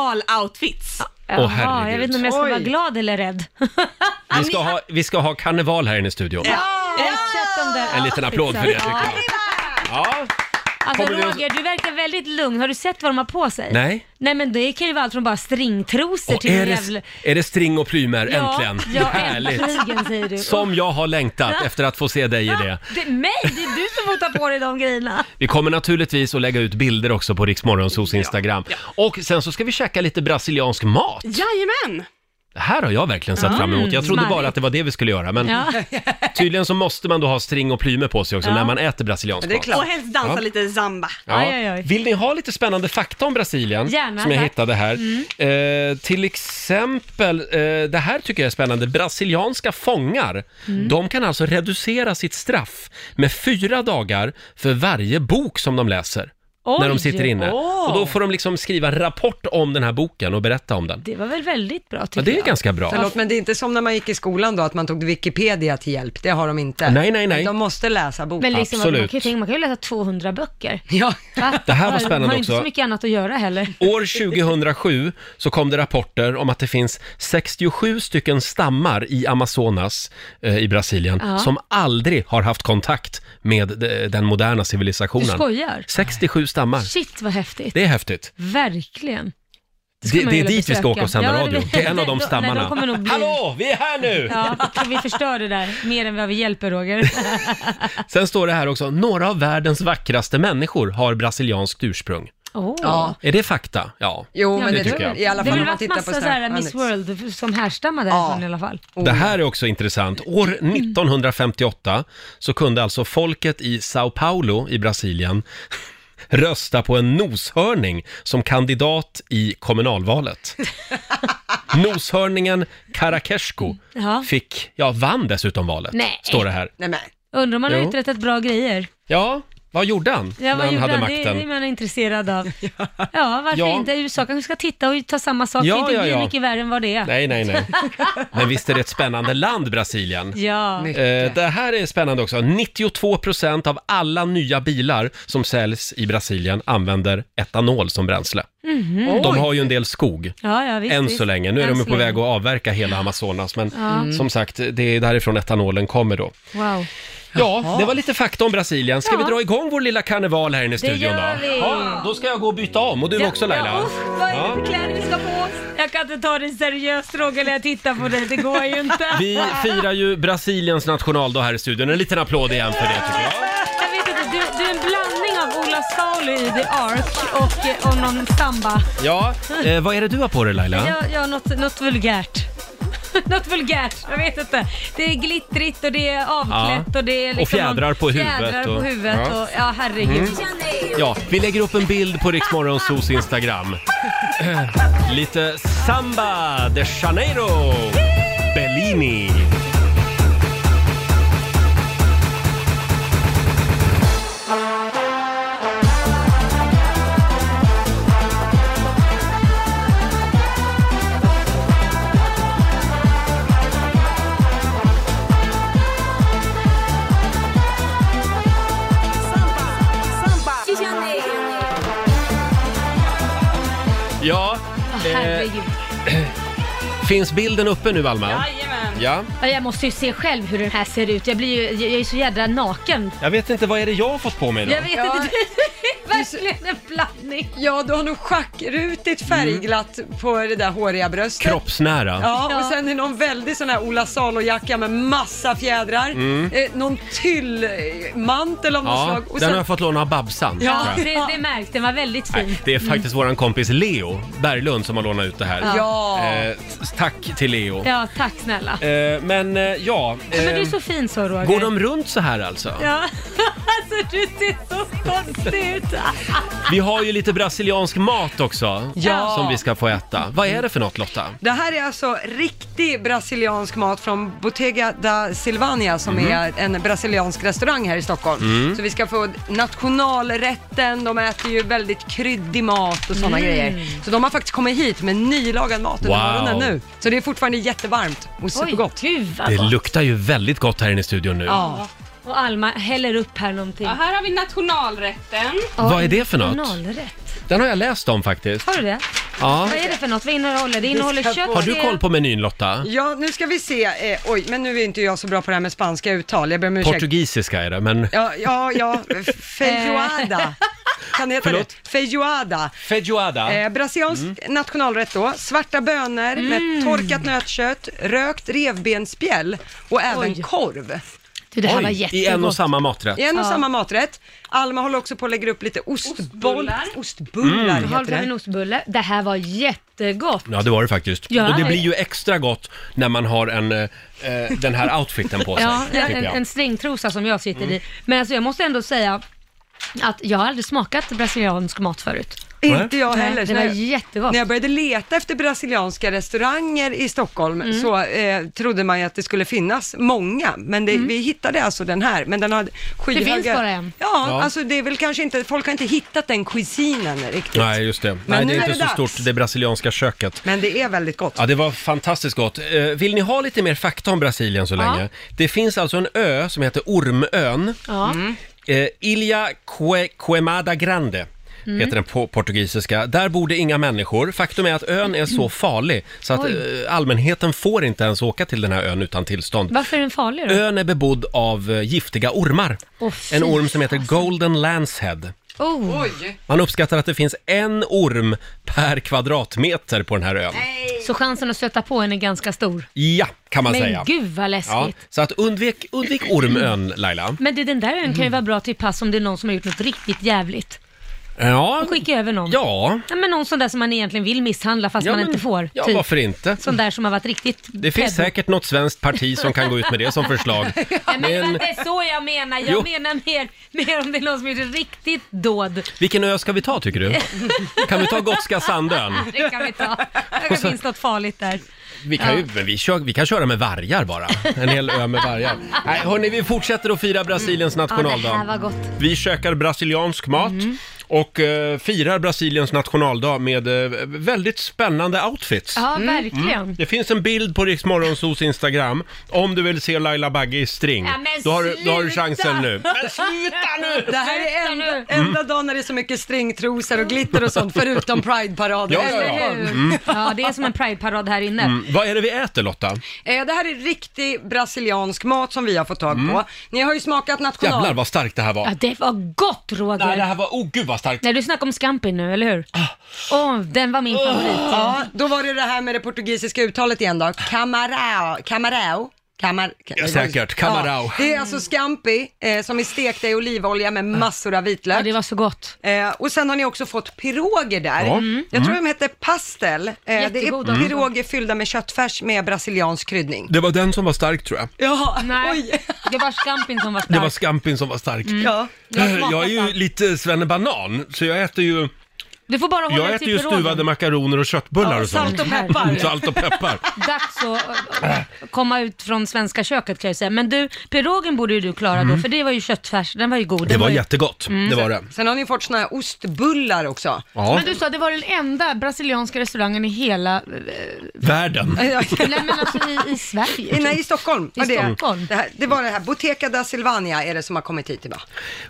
Speaker 9: karneval-outfits.
Speaker 1: Åh,
Speaker 4: Jaha,
Speaker 1: herregud.
Speaker 4: jag vet inte om jag ska
Speaker 2: Oj.
Speaker 4: vara glad eller rädd.
Speaker 1: Vi ska ha, vi ska ha karneval här inne i studion.
Speaker 4: Jag har sett de där
Speaker 1: En liten applåd för det, tycker jag. Ja.
Speaker 4: Alltså
Speaker 1: Kommer du-
Speaker 4: Roger, du verkar väldigt lugn. Har du sett vad de har på sig?
Speaker 1: Nej.
Speaker 4: Nej men det kan ju vara allt från bara stringtrosor
Speaker 1: Och
Speaker 4: till
Speaker 1: är,
Speaker 4: en
Speaker 1: det,
Speaker 4: jävla...
Speaker 1: är det string och plymer, äntligen?
Speaker 4: Ja,
Speaker 1: Härligt!
Speaker 4: äntligen säger du.
Speaker 1: Som jag har längtat efter att få se dig i det.
Speaker 4: Det, mig? Det är du som får ta på dig de grejerna.
Speaker 1: Vi kommer naturligtvis att lägga ut bilder också på Riksmorgonsos Instagram. Och sen så ska vi käka lite brasiliansk mat.
Speaker 9: Jajamän!
Speaker 1: Det här har jag verkligen sett fram emot. Jag trodde bara
Speaker 4: smarrigt.
Speaker 1: att det var det vi skulle göra, men
Speaker 4: Mm, Ja.
Speaker 1: tydligen så måste man då ha string och plymer på sig också
Speaker 4: Ja.
Speaker 1: när man äter brasiliansk
Speaker 2: Det är
Speaker 1: mat.
Speaker 2: klart.
Speaker 9: Och helst dansa
Speaker 1: Ja.
Speaker 9: lite zamba.
Speaker 1: Ja.
Speaker 4: Oj, oj, oj.
Speaker 1: Vill ni ha lite spännande fakta om Brasilien?
Speaker 4: Gärna,
Speaker 1: som jag
Speaker 4: tack. Mm.
Speaker 1: hittade här. Eh, till exempel, eh, det här tycker jag är spännande. Brasilianska fångar,
Speaker 4: Mm.
Speaker 1: de kan alltså reducera sitt straff med fyra dagar för varje bok som de läser.
Speaker 4: Oj.
Speaker 1: när de sitter inne.
Speaker 4: Åh.
Speaker 1: Och då får de liksom skriva en rapport om den här boken och berätta om den.
Speaker 4: Det var väl väldigt bra tycker
Speaker 1: Ja, det är
Speaker 4: jag.
Speaker 1: ganska bra.
Speaker 2: Förlåt, men det är inte som när man gick i skolan då, att man tog Wikipedia till hjälp. Det har de inte.
Speaker 1: Nej, nej, nej.
Speaker 2: De måste läsa boken.
Speaker 4: Men liksom, man,
Speaker 1: Absolut.
Speaker 4: kan ju tänka, man kan ju läsa 200 böcker.
Speaker 2: Ja.
Speaker 4: Va?
Speaker 1: Det här var
Speaker 4: Man-
Speaker 1: spännande
Speaker 4: Man har inte
Speaker 1: också.
Speaker 4: så mycket annat att göra heller.
Speaker 1: År 2007 så kom det rapporter om att det finns 67 stycken stammar i Amazonas eh, i Brasilien
Speaker 4: Ja.
Speaker 1: som aldrig har haft kontakt med de, den moderna
Speaker 4: Du
Speaker 1: civilisationen.
Speaker 4: skojar?
Speaker 1: 67 stammar.
Speaker 4: Shit vad häftigt.
Speaker 1: Ah. Det är häftigt.
Speaker 4: Verkligen. ska
Speaker 1: Det,
Speaker 4: man
Speaker 1: det är
Speaker 4: vilja
Speaker 1: dit vi ska
Speaker 4: besöka.
Speaker 1: åka och sända
Speaker 4: Ja, det-
Speaker 1: radio. Det är en av
Speaker 4: Nej,
Speaker 1: de
Speaker 4: de
Speaker 1: stammarna.
Speaker 4: kommer nog bli-
Speaker 1: Hallå, vi är här nu!
Speaker 4: Ja, så vi förstör det där mer än vad vi hjälper Roger.
Speaker 1: Sen står det här också, några av världens vackraste människor har brasilianskt ursprung.
Speaker 4: Åh.
Speaker 2: Ja.
Speaker 1: Är det fakta? Ja.
Speaker 2: Jo,
Speaker 4: Ja,
Speaker 2: men
Speaker 4: det
Speaker 2: det,
Speaker 1: tycker jag.
Speaker 2: i alla
Speaker 4: Det
Speaker 2: fall om
Speaker 4: har väl
Speaker 2: man
Speaker 4: varit
Speaker 2: tittar på
Speaker 4: massa så här Miss World som härstammar därifrån i alla fall.
Speaker 1: Det här är också intressant. År
Speaker 4: Mm.
Speaker 1: 1958 så kunde alltså folket i Sao Paulo i Brasilien rösta på en noshörning som kandidat i kommunalvalet. Noshörningen Karakeshko
Speaker 4: Ja.
Speaker 1: fick, ja, vann dessutom valet,
Speaker 4: Nej.
Speaker 1: står det här.
Speaker 2: Nej, men.
Speaker 4: Undrar om man har
Speaker 1: Jo.
Speaker 4: uträttat bra grejer.
Speaker 1: Ja, vad gjorde han
Speaker 4: Ja,
Speaker 1: när
Speaker 4: vad
Speaker 1: han
Speaker 4: gjorde
Speaker 1: hade
Speaker 4: han? Det,
Speaker 1: makten?
Speaker 4: det är man intresserad av. Ja, varför
Speaker 1: Ja.
Speaker 4: inte? USA kanske ska titta och ta samma sak.
Speaker 1: Ja,
Speaker 4: det inte
Speaker 1: ja,
Speaker 4: blir
Speaker 1: ja.
Speaker 4: mycket värre än vad det är.
Speaker 1: Nej, nej, nej. Men visst är det ett spännande land, Brasilien?
Speaker 4: Ja.
Speaker 1: Eh, det här är spännande också. 92% av alla nya bilar som säljs i Brasilien använder etanol som bränsle. De har ju en del skog.
Speaker 4: Ja, ja, visst,
Speaker 1: Än
Speaker 4: visst.
Speaker 1: så länge. Nu är
Speaker 4: Mhm.
Speaker 1: de
Speaker 4: Än
Speaker 1: ju
Speaker 4: så
Speaker 1: på
Speaker 4: länge. Mm.
Speaker 1: väg att avverka hela Amazonas, men som sagt, det är därifrån etanolen kommer då.
Speaker 4: Wow.
Speaker 1: Ja, det var lite fakta om Brasilien. Ska
Speaker 4: Ja.
Speaker 1: vi dra igång vår lilla karneval här inne i studion då?
Speaker 4: gör vi.
Speaker 1: Ja, då ska jag gå och byta om och du också Laila.
Speaker 4: Ja, uff, vad är det för kläder vi ska på oss? Jag kan inte ta det seriöst Roger när jag tittar på dig, det går ju inte.
Speaker 1: Vi firar ju Brasiliens nationaldag här i studion. En liten applåd igen för det tycker jag.
Speaker 4: Jag vet inte, du, du är en blandning av Ola Salo i The Ark och, eh, och någon samba.
Speaker 1: Ja, eh, vad är det du har på dig Laila?
Speaker 4: Ja, ja något, något vulgärt. något vulgärt, jag vet inte. Det är glittrigt och det är avklätt
Speaker 1: Ja.
Speaker 4: och det är liksom
Speaker 1: Och fjädrar på huvudet
Speaker 4: Fjädrar
Speaker 1: och-
Speaker 4: på huvudet
Speaker 1: Ja. Mm.
Speaker 4: och, ja herregud.
Speaker 1: Ja, vi lägger upp en bild på Riksmorgonsos Instagram. Eh, Lite samba de Janeiro, Bellini. Ja,
Speaker 4: Ja,
Speaker 1: eh,
Speaker 4: herregud.
Speaker 1: finns bilden uppe nu Alma?
Speaker 9: Jajamän.
Speaker 1: Ja.
Speaker 4: Ja, jag måste ju se själv hur den här ser ut. Jag, blir ju, jag jag är så jädra naken.
Speaker 1: Jag vet inte, vad är det jag har fått på mig då?
Speaker 4: Jag vet
Speaker 2: Ja.
Speaker 4: inte, det är verkligen en blandning.
Speaker 2: Ja, du har nog schackrutigt färgglatt på det där håriga bröstet.
Speaker 1: Kroppsnära.
Speaker 2: Ja, och
Speaker 4: Ja.
Speaker 2: sen är någon väldigt sån här Ola Salo-jacka med massa fjädrar. Eh, någon tyllmantel av något
Speaker 1: Mm. Ja,
Speaker 2: slag. Och
Speaker 1: den har
Speaker 2: sen,
Speaker 1: jag fått låna av Babsan.
Speaker 4: Ja,
Speaker 1: tror jag.
Speaker 4: det, det märks. Den var väldigt fin.
Speaker 1: Nej, det är faktiskt våran kompis Leo Berglund som har lånat ut det här.
Speaker 2: ja.
Speaker 1: Eh, t- tack till Leo.
Speaker 4: Ja, tack snälla.
Speaker 1: Eh, men eh, ja,
Speaker 4: Ja, men du är
Speaker 1: eh,
Speaker 4: så fin så Roger.
Speaker 1: går de runt så här alltså?
Speaker 4: Ja, alltså du ser så konstig ut.
Speaker 1: Vi har ju lite brasiliansk mat också
Speaker 2: Ja.
Speaker 1: som vi ska få äta. Vad är det för något Lotta?
Speaker 2: Det här är alltså riktig brasiliansk mat från Bottega da Silvania som
Speaker 1: Mm.
Speaker 2: är en brasiliansk restaurang här i Stockholm. Så vi ska få nationalrätten, de äter ju väldigt kryddig mat och sådana grejer. Så de har faktiskt kommit hit med nylagad mat under
Speaker 1: Mm. Wow.
Speaker 2: morgonen nu. Så det är fortfarande jättevarmt och
Speaker 4: Oj,
Speaker 2: supergott.
Speaker 4: gud vad
Speaker 1: Det
Speaker 4: gott.
Speaker 1: luktar ju väldigt gott här inne i studion nu.
Speaker 2: Ja.
Speaker 4: Och Alma häller upp här någonting.
Speaker 9: Ja, här har vi nationalrätten.
Speaker 1: Vad är det för något?
Speaker 4: Nationalrätt.
Speaker 1: Den har jag läst om faktiskt.
Speaker 4: Har du det?
Speaker 1: Ja.
Speaker 4: Vad är det för något? Vad innehåller det? Det innehåller
Speaker 2: ska
Speaker 4: kött.
Speaker 2: få-
Speaker 1: Har du koll på menyn Lotta?
Speaker 2: Ja, nu ska vi se. Eh, oj, men nu är inte jag så bra på det här med spanska uttal. Jag ber om ursäkt.
Speaker 1: Portugisiska är det, men...
Speaker 2: Ja, ja, ja. Feijoada. Kan det heta
Speaker 1: Eh. Förlåt?
Speaker 2: det? Feijoada.
Speaker 1: Feijoada.
Speaker 2: Eh, brasiliansk
Speaker 4: Mm.
Speaker 2: nationalrätt då. Svarta bönor med torkat nötkött, rökt revbensspjäll och även
Speaker 4: Oj.
Speaker 2: korv.
Speaker 4: Du, det här var
Speaker 1: Oj, i en och
Speaker 4: jättegott.
Speaker 1: samma maträtt.
Speaker 2: I en och
Speaker 4: Ja.
Speaker 2: samma maträtt. Alma håller också på att lägga upp lite ostboll,
Speaker 9: Ostbullar.
Speaker 2: ostbullar
Speaker 4: Halv
Speaker 2: heter
Speaker 4: en
Speaker 2: det.
Speaker 4: ostbulle. Det här var jättegott.
Speaker 1: Ja, det var det faktiskt.
Speaker 4: Ja.
Speaker 1: Och det blir ju extra gott när man har en, eh, eh, den här outfiten på sig.
Speaker 4: Ja,
Speaker 1: tycker
Speaker 4: en,
Speaker 1: jag. Mm.
Speaker 4: en stringtrosa som jag sitter i. Men alltså jag måste ändå säga att jag har aldrig smakat brasiliansk mat förut.
Speaker 2: Inte jag
Speaker 4: Nej,
Speaker 2: heller.
Speaker 4: det
Speaker 2: Så när
Speaker 4: var
Speaker 2: jag-
Speaker 4: jättegott.
Speaker 2: När jag började leta efter brasilianska restauranger i Stockholm
Speaker 4: Mm.
Speaker 2: så eh, trodde man ju att det skulle finnas många, men det, vi hittade alltså den här. Men den har skyhöga...
Speaker 4: Mm. finns bara en.
Speaker 2: Ja,
Speaker 1: Ja.
Speaker 2: alltså det är väl kanske inte, folk har inte hittat den cuisinen riktigt.
Speaker 1: Nej, just det. Nej,
Speaker 2: nu
Speaker 1: det är
Speaker 2: är
Speaker 1: inte
Speaker 2: det
Speaker 1: så
Speaker 2: dags.
Speaker 1: stort, det brasilianska köket.
Speaker 2: Men det är väldigt gott.
Speaker 1: Ja, det var fantastiskt gott. Eh, Vill ni ha lite mer fakta om Brasilien så länge? Det finns alltså en ö som heter Ormön.
Speaker 4: Ja.
Speaker 1: Eh, Ilha Que- Quemada Grande
Speaker 4: Mm.
Speaker 1: heter den på portugisiska. Där bor det inga människor. Faktum är att ön är
Speaker 4: Mm.
Speaker 1: så farlig så att eh, allmänheten får inte ens åka till den här ön utan tillstånd.
Speaker 4: Varför är den farlig då?
Speaker 1: Ön är bebodd av eh, giftiga ormar.
Speaker 4: Åh, fy
Speaker 1: en orm som heter Golden Lancehead.
Speaker 4: Oh.
Speaker 1: Man uppskattar att det finns en orm per kvadratmeter på den här ön.
Speaker 4: Så chansen att stöta på henne är ganska stor.
Speaker 1: Ja, kan man
Speaker 4: Men
Speaker 1: säga.
Speaker 4: gud vad
Speaker 1: Ja,
Speaker 4: läskigt.
Speaker 1: så att undvik, undvik ormön, Laila.
Speaker 4: Men du, den där ön
Speaker 1: Mm.
Speaker 4: kan ju vara bra till pass om det är någon som har gjort något riktigt jävligt.
Speaker 1: Ja,
Speaker 4: Skicka över någon.
Speaker 1: Mm. ja.
Speaker 4: Ja, men någon sån där som man egentligen vill misshandla fast
Speaker 1: ja
Speaker 4: man
Speaker 1: men-
Speaker 4: inte får.
Speaker 1: Ja,
Speaker 4: typ.
Speaker 1: varför inte?
Speaker 4: Sån där som har varit riktigt
Speaker 1: Det finns
Speaker 4: pedo.
Speaker 1: säkert något svenskt parti som kan gå ut med det som förslag.
Speaker 4: Nej, men,
Speaker 1: Men
Speaker 4: det är så jag menar. Jag
Speaker 1: Jo.
Speaker 4: menar mer, mer om det är någon som gjort ett riktigt dåd.
Speaker 1: vilken ö ska vi ta tycker du? Kan vi ta Gotska Sandön?
Speaker 4: Det kan vi ta. Det
Speaker 1: Och så-
Speaker 4: finns något farligt där.
Speaker 1: Vi kan, ju, men vi, kör, vi kan köra med vargar bara. En hel ö med vargar. Nej, hörni, vi fortsätter att fira Brasiliens
Speaker 4: Ja, det här
Speaker 1: nationaldag.
Speaker 4: var Mm. gott.
Speaker 1: Vi käkar brasiliansk mat och eh, firar Brasiliens nationaldag med eh, väldigt spännande outfits.
Speaker 4: Ja, verkligen.
Speaker 1: Det finns en bild på Rix Morgonzos Instagram. Om du vill se Laila Bagge i string,
Speaker 4: Ja, men
Speaker 1: då, har, du- då har du
Speaker 4: sluta!
Speaker 1: chansen nu. Men sluta nu!
Speaker 2: Det här är enda, enda dagen när det är så mycket stringtrosor och glitter och sånt, förutom Pride-paraden.
Speaker 1: Ja, ja, ja.
Speaker 2: Eller hur?
Speaker 4: Hur?
Speaker 1: Mm.
Speaker 4: Ja, det är som en prideparad här inne.
Speaker 1: Vad är det vi äter Lotta?
Speaker 2: Eh, Det här är riktig brasiliansk mat som vi har fått tag på. Ni har ju smakat national...
Speaker 1: Mm. Jävlar vad starkt det här var.
Speaker 4: Ja, det var gott Roger!
Speaker 1: Nej, det
Speaker 4: Nej,
Speaker 1: här Ah. var... Oh, gud vad starkt!
Speaker 4: du snackar om Scampin nu, eller hur? Åh, den var min favorit.
Speaker 2: Ja, då var det det här med det portugisiska uttalet igen då. Camarão. Camarão. Camar...
Speaker 1: Ja, säkert. Camarão.
Speaker 2: Ja, det är alltså scampi eh, som är stekta i olivolja med massor av vitlök.
Speaker 4: Ja, det var så gott.
Speaker 2: Eh, och sen har ni också fått piroger där.
Speaker 1: Ja. Mm.
Speaker 2: Jag tror de hette pastel. Eh, det
Speaker 4: Mm. Jättegoda.
Speaker 2: är piroger fyllda med köttfärs med brasiliansk kryddning.
Speaker 1: Det var den som var stark tror jag.
Speaker 2: Ja,
Speaker 4: Nej,
Speaker 2: oj.
Speaker 4: det var Scampin som var stark.
Speaker 1: Det var skampin som var stark.
Speaker 2: Ja.
Speaker 4: Jag har Mm. smakat
Speaker 1: Jag är ju
Speaker 4: allt.
Speaker 1: lite svennebanan, så jag äter ju,
Speaker 4: Du får bara hålla
Speaker 1: jag
Speaker 4: dig
Speaker 1: äter
Speaker 4: till
Speaker 1: ju
Speaker 4: pirogen.
Speaker 1: stuvade makaroner och köttbullar
Speaker 2: ja,
Speaker 1: och sånt.
Speaker 2: salt och peppar.
Speaker 1: Salt och peppar.
Speaker 4: Dags att
Speaker 1: Ah.
Speaker 4: äh, komma ut från svenska köket kan jag säga. Men du, pirogen borde ju du klara då, för det var ju köttfärs, den var ju god.
Speaker 1: Mm. Det
Speaker 4: Den
Speaker 1: var
Speaker 4: ju...
Speaker 1: jättegott, det var det.
Speaker 2: Sen har ni fått såna här ostbullar också.
Speaker 1: Ja,
Speaker 4: Mm. Men du sa, det var den enda brasilianska restaurangen i hela,
Speaker 1: världen.
Speaker 4: nej men alltså i, i Sverige.
Speaker 2: I- Nej, i Stockholm.
Speaker 4: I
Speaker 2: var det.
Speaker 4: Stockholm.
Speaker 2: Det, här, det var det här, Boteca da Silvania är det som har kommit hit idag.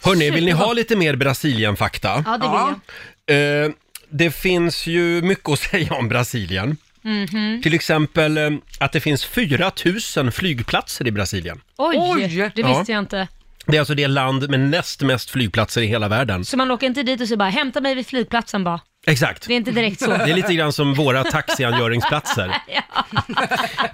Speaker 1: Hörni, vill ni ha lite mer Brasilien-fakta?
Speaker 4: Ja, det vill jag.
Speaker 1: Eh, det finns ju mycket att säga om Brasilien.
Speaker 2: Mhm.
Speaker 1: Till exempel eh, att det finns 4 000 flygplatser i Brasilien.
Speaker 4: Oj,
Speaker 2: Oj.
Speaker 4: det
Speaker 1: Ja.
Speaker 4: visste jag inte.
Speaker 1: Det är alltså det land med näst mest flygplatser i hela världen.
Speaker 4: Så man åker inte dit och säger bara, hämta mig vid flygplatsen bara.
Speaker 1: Exakt.
Speaker 4: Det är inte direkt så.
Speaker 1: Det är lite grann som våra taxiangöringsplatser.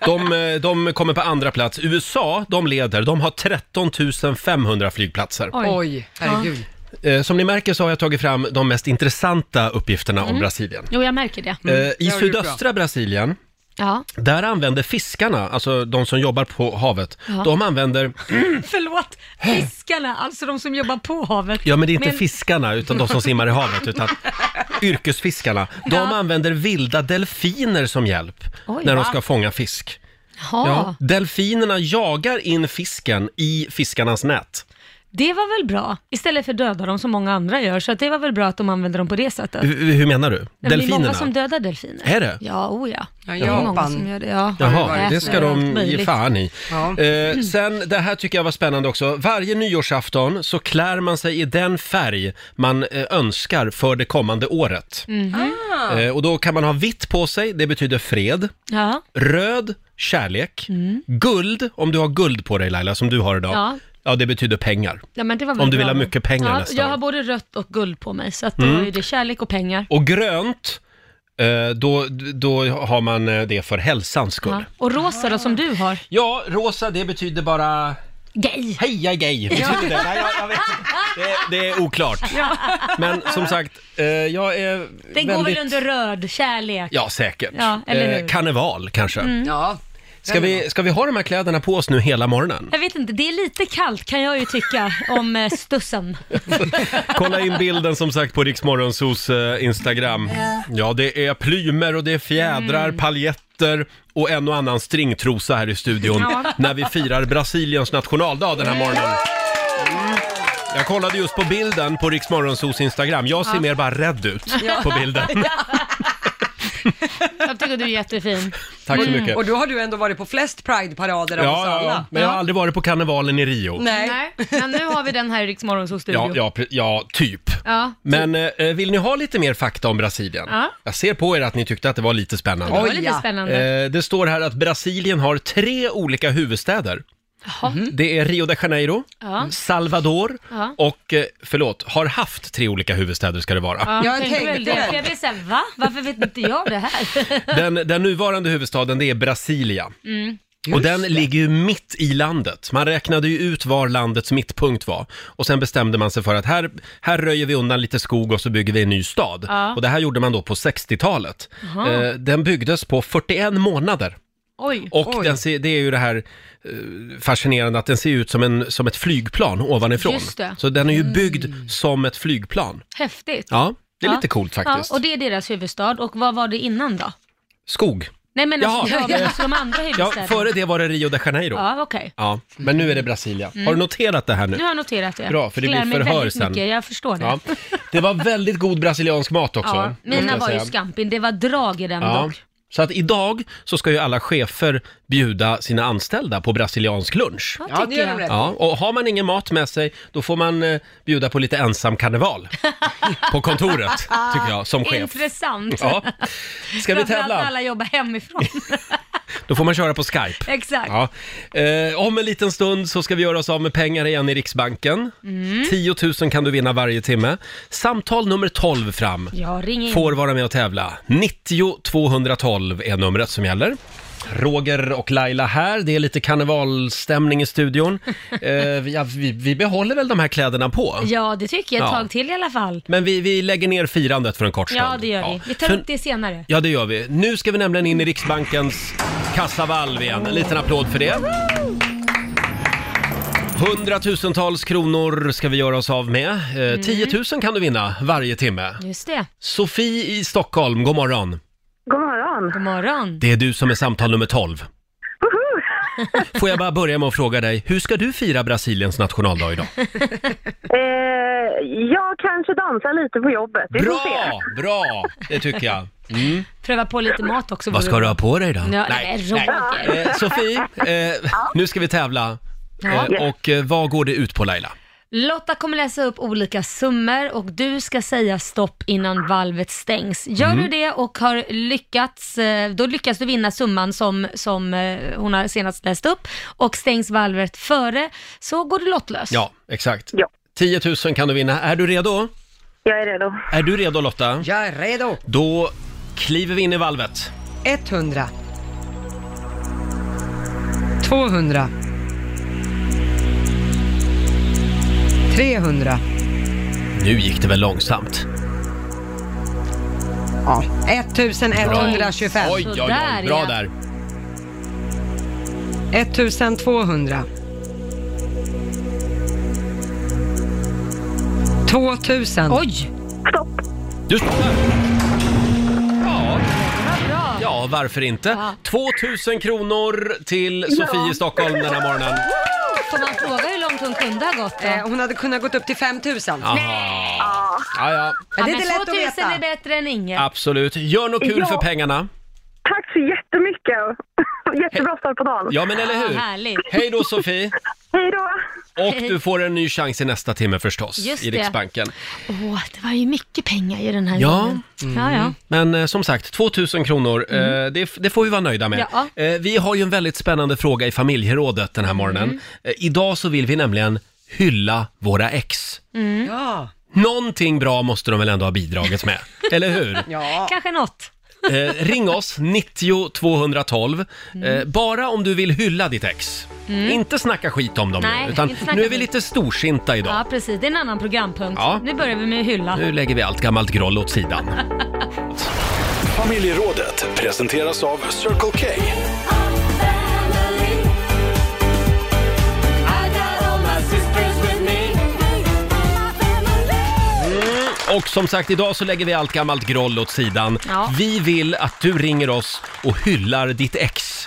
Speaker 1: De, eh, de kommer på andra plats. USA, de leder. De har 13 500 flygplatser.
Speaker 4: Oj.
Speaker 2: herregud.
Speaker 1: Eh, Som ni märker så har jag tagit fram de mest intressanta uppgifterna om Brasilien.
Speaker 4: Jo, jag märker det.
Speaker 1: Eh, I
Speaker 2: Mhm. det har du gjort bra.
Speaker 1: sydöstra Brasilien,
Speaker 4: Ja.
Speaker 1: Där använder fiskarna, alltså de som jobbar på havet, de använder,
Speaker 4: Förlåt, fiskarna, alltså de som jobbar på havet.
Speaker 1: ja men det är inte
Speaker 4: Men-
Speaker 1: fiskarna utan de som simmar i havet, utan yrkesfiskarna. De
Speaker 4: Ja.
Speaker 1: använder vilda delfiner som hjälp
Speaker 4: Oj,
Speaker 1: när de
Speaker 4: va?
Speaker 1: ska fånga fisk.
Speaker 4: Ja.
Speaker 1: Ja, delfinerna jagar in fisken i fiskarnas nät.
Speaker 4: Det var väl bra, istället för döda dem som många andra gör, så att det var väl bra att de använder dem på det sättet.
Speaker 1: Hur, hur menar du?
Speaker 4: Men Det är många
Speaker 1: delfinerna?
Speaker 4: som dödar delfiner.
Speaker 1: Är det?
Speaker 4: Ja, oh ja.
Speaker 2: Ja,
Speaker 4: Det är många
Speaker 2: Japan.
Speaker 4: som gör det. Ja.
Speaker 1: Jaha, det
Speaker 4: Äter
Speaker 1: ska de
Speaker 4: allt
Speaker 1: ge
Speaker 4: möjligt.
Speaker 1: fan i.
Speaker 2: Ja.
Speaker 1: Eh, sen, det här tycker jag var spännande också. Varje nyårsafton så klär man sig i den färg man eh, önskar för det kommande året.
Speaker 4: Mm-hmm.
Speaker 1: Eh, och då kan man ha vitt på sig, det betyder fred.
Speaker 4: Ja.
Speaker 1: Röd, kärlek. Guld, om du har guld på dig Laila, som du har idag. Ja,
Speaker 4: Mm. Ja.
Speaker 1: det betyder pengar.
Speaker 4: Ja, men det var väl
Speaker 1: Om du
Speaker 4: bra
Speaker 1: vill ha
Speaker 4: då.
Speaker 1: mycket pengar
Speaker 4: ja,
Speaker 1: nästa
Speaker 4: Jag
Speaker 1: år. Mm.
Speaker 4: har både rött och guld på mig, så att då är det kärlek och pengar.
Speaker 1: Och grönt, eh, då, då har man eh, det för hälsans skull.
Speaker 4: Ja.
Speaker 1: Ja.
Speaker 4: Och rosa då, som du har.
Speaker 1: rosa det betyder bara
Speaker 4: Gay!
Speaker 1: Heja gay! Betyder det? Nej, jag, jag vet inte. Det, det är oklart. Men som sagt, eh, jag är
Speaker 4: Den
Speaker 1: väldigt...
Speaker 4: går väl under röd, kärlek.
Speaker 1: Ja, säkert.
Speaker 4: Ja, eller hur? Mm.
Speaker 1: karneval kanske.
Speaker 2: Ja.
Speaker 1: Ska vi, ska vi ha de här kläderna på oss nu hela morgonen?
Speaker 4: Jag vet inte, det är lite kallt kan jag ju tycka om eh, stussen.
Speaker 1: Kolla in bilden som sagt på Riksmorgonsos eh, Instagram. Ja, det är plymer och det är fjädrar, paljetter och en och annan stringtrosa här i studion
Speaker 4: Ja.
Speaker 1: när vi firar Brasiliens nationaldag den här morgonen. Mm. Jag kollade just på bilden på Riksmorgonsos Instagram. Jag ser mer bara rädd ut på bilden.
Speaker 4: Jag tycker du är jättefin.
Speaker 1: Tack så mycket.
Speaker 2: Och då har du ändå varit på flest Pride-parader av
Speaker 1: Ja,
Speaker 2: oss alla.
Speaker 1: ja, men jag har aldrig varit på karnevalen i Rio.
Speaker 2: Nej.
Speaker 4: Men nu har vi den här i Rix Morgonzos studio.
Speaker 1: Ja, ja, pre- ja, typ.
Speaker 4: Ja.
Speaker 1: Men eh, vill ni ha lite mer fakta om Brasilien?
Speaker 4: Ja.
Speaker 1: Jag ser på er att ni tyckte att det var lite spännande.
Speaker 4: Det var
Speaker 2: Oj,
Speaker 4: lite
Speaker 2: ja.
Speaker 4: spännande.
Speaker 1: Eh, det står här att Brasilien har tre olika huvudstäder.
Speaker 2: Mhm.
Speaker 1: Det är Rio de Janeiro,
Speaker 4: Mm. Ja.
Speaker 1: Salvador
Speaker 4: Ja.
Speaker 1: och, eh, förlåt, har haft tre olika huvudstäder ska det vara.
Speaker 4: Ja,
Speaker 2: Jag
Speaker 4: tänkte väl
Speaker 2: tänkte
Speaker 4: det.
Speaker 2: det.
Speaker 4: För jag blev såhär, va? Varför vet inte jag det här?
Speaker 1: Den, den nuvarande huvudstaden det är Brasilia.
Speaker 4: Mm.
Speaker 1: Och den ligger ju mitt i landet. Man räknade ju ut var landets mittpunkt var. Och sen bestämde man sig för att här, här röjer vi undan lite skog och så bygger vi en ny stad.
Speaker 4: Ja.
Speaker 1: Och det här gjorde man då på 60-talet. Eh, den byggdes på 41 månader.
Speaker 4: Oj.
Speaker 1: Och den ser, det är ju det här eh, fascinerande att den ser ut som, en, som ett flygplan ovanifrån.
Speaker 4: Just det. Mm.
Speaker 1: Så den är ju byggd som ett flygplan.
Speaker 4: Häftigt.
Speaker 1: Ja, det är
Speaker 4: Ja.
Speaker 1: lite coolt
Speaker 4: Ja,
Speaker 1: faktiskt.
Speaker 4: och det är deras huvudstad. Och vad var det innan då?
Speaker 1: Skog.
Speaker 4: Nej men alltså,
Speaker 1: Jaha.
Speaker 4: ja, men alltså de andra
Speaker 1: Ja,
Speaker 4: huvudstäderna.
Speaker 1: före det var det Rio de Janeiro.
Speaker 4: Ja, Mm. okej.
Speaker 1: Ja, men nu är det Brasilia. Har du noterat det här nu?
Speaker 4: Nu har jag noterat det.
Speaker 1: Bra, för det
Speaker 4: Klär
Speaker 1: blir
Speaker 4: mig
Speaker 1: förhör
Speaker 4: väldigt
Speaker 1: sen.
Speaker 4: Mycket. Jag förstår det.
Speaker 1: Ja. Det var väldigt god brasiliansk mat också.
Speaker 4: Ja,
Speaker 1: måste
Speaker 4: mina
Speaker 1: jag
Speaker 4: var ju
Speaker 1: säga.
Speaker 4: scampin. Det var drag i den
Speaker 1: Ja.
Speaker 4: dock.
Speaker 1: Så att idag så ska ju alla chefer bjuda sina anställda på brasiliansk lunch.
Speaker 4: Vad
Speaker 2: Ja, det
Speaker 4: tycker
Speaker 2: gör de
Speaker 4: jag.
Speaker 2: rätt.
Speaker 1: Ja, och har man ingen mat med sig, då får man eh, bjuda på lite ensam karneval på kontoret, tycker jag, som chef.
Speaker 4: Intressant.
Speaker 1: Ja. Ska vi
Speaker 4: Framförallt när
Speaker 1: tävla?
Speaker 4: alla jobbar hemifrån.
Speaker 1: Då får man köra på Skype.
Speaker 4: Exakt.
Speaker 1: Ja. Eh, om en liten stund så ska vi göra oss av med pengar igen i Riksbanken.
Speaker 4: Mm.
Speaker 1: 10 000 kan du vinna varje timme. Samtal nummer 12 fram
Speaker 4: Ja, ring in.
Speaker 1: får vara med och tävla. 90 212 är numret som gäller. Roger och Laila här, det är lite karnevalstämning i studion. Eh, ja, vi, vi behåller väl de här kläderna på?
Speaker 4: Ja, det tycker jag. Ett
Speaker 1: Ja.
Speaker 4: tag till i alla fall.
Speaker 1: Men vi, vi lägger ner firandet för en kort stund.
Speaker 4: Ja, det gör vi. Vi tar
Speaker 1: För-
Speaker 4: upp det senare.
Speaker 1: Ja, det gör vi. Nu ska vi nämligen in i Riksbankens kassavalv igen. En liten applåd för det. Hundratusentals kronor ska vi göra oss av med.
Speaker 4: Mm.
Speaker 1: Eh, 10 000 kan du vinna varje timme.
Speaker 4: Just det.
Speaker 1: Sofie i Stockholm, god morgon.
Speaker 7: God morgon.
Speaker 4: God morgon.
Speaker 1: Det är du som är samtal nummer 12. Får jag bara börja med att fråga dig, hur ska du fira Brasiliens nationaldag idag?
Speaker 7: Eh, jag kanske dansar lite på jobbet. Vi får
Speaker 1: Bra,
Speaker 7: se.
Speaker 1: bra, det tycker jag. Mm.
Speaker 4: Pröva på lite mat också.
Speaker 1: Vad
Speaker 4: vore
Speaker 1: ska du
Speaker 4: bra.
Speaker 1: ha på dig då?
Speaker 4: Ja, nej, Roger.
Speaker 1: Eh, Sofie, eh, nu ska vi tävla.
Speaker 4: Ja.
Speaker 1: Eh, och eh, vad går det ut på Laila?
Speaker 4: Lotta kommer läsa upp olika summor och du ska säga stopp innan valvet stängs. Gör
Speaker 1: Mm.
Speaker 4: du det och har lyckats, eh, då lyckas du vinna summan som, som eh, hon har senast läst upp och stängs valvet före så går du lottlös.
Speaker 1: Ja, exakt.
Speaker 7: Ja.
Speaker 1: 10 000 kan du vinna. Är du redo?
Speaker 7: Jag är redo.
Speaker 1: Är du redo Lotta?
Speaker 2: Jag är redo.
Speaker 1: Då kliver vi in i valvet.
Speaker 2: 100. 200. 300.
Speaker 1: Nu gick det väl långsamt?
Speaker 2: Ja. 1125.
Speaker 1: Oj, oj,
Speaker 4: Sådär,
Speaker 1: oj. Bra
Speaker 4: ja.
Speaker 1: där.
Speaker 2: 1200. 2000.
Speaker 4: Oj!
Speaker 1: Du står Ja,
Speaker 4: Vad bra!
Speaker 1: ja, varför inte?
Speaker 4: Ja.
Speaker 1: 2 000 kronor till Sofie i Stockholm den här morgonen.
Speaker 4: Får man fråga hur långt hon kunde ha gått då?
Speaker 2: Eh, hon hade kunnat gått upp till 5000.
Speaker 1: Jaha. Ja, ja,
Speaker 2: Men det är
Speaker 4: men
Speaker 2: inte lätt att
Speaker 4: 2000 är
Speaker 2: veta.
Speaker 4: bättre än inget.
Speaker 1: absolut. Gör något kul
Speaker 7: Ja.
Speaker 1: för pengarna.
Speaker 7: Tack så jättemycket. Jättebra start på dagen.
Speaker 1: Ja, men eller
Speaker 4: Ja,
Speaker 1: hur?
Speaker 4: härligt.
Speaker 1: Hej då Sofie!
Speaker 7: Hej då.
Speaker 1: Och du får en ny chans i nästa timme förstås,
Speaker 4: Just
Speaker 1: i
Speaker 4: det.
Speaker 1: Riksbanken.
Speaker 4: Åh, det var ju mycket pengar i den här
Speaker 1: Ja.
Speaker 4: gången. Ja, ja.
Speaker 1: Men eh, som sagt, 2000 kronor, eh, det, det får vi vara nöjda med.
Speaker 4: Mm. Ja.
Speaker 1: Eh, vi har ju en väldigt spännande fråga i familjerådet den här morgonen.
Speaker 4: Mm.
Speaker 1: Eh, idag så vill vi nämligen hylla våra ex.
Speaker 2: Ja.
Speaker 4: Mm.
Speaker 1: Någonting bra måste de väl ändå ha bidragit med, eller hur?
Speaker 2: ja.
Speaker 4: Kanske något.
Speaker 1: Eh, ring oss, 90 212. Eh,
Speaker 4: Mm.
Speaker 1: bara om du vill hylla ditt ex. Inte snacka skit om dem
Speaker 4: Nej,
Speaker 1: nu, utan
Speaker 4: inte snacka
Speaker 1: nu är vi
Speaker 4: skit.
Speaker 1: lite storsinta idag.
Speaker 4: Ja, precis. Det är en annan programpunkt.
Speaker 1: Ja.
Speaker 4: Nu börjar vi med hylla.
Speaker 1: Nu lägger vi allt gammalt groll åt sidan.
Speaker 3: Familjerådet presenteras av Circle K.
Speaker 1: Och som sagt, idag så lägger vi allt gammalt groll åt sidan.
Speaker 4: Ja.
Speaker 1: Vi vill att du ringer oss och hyllar ditt ex.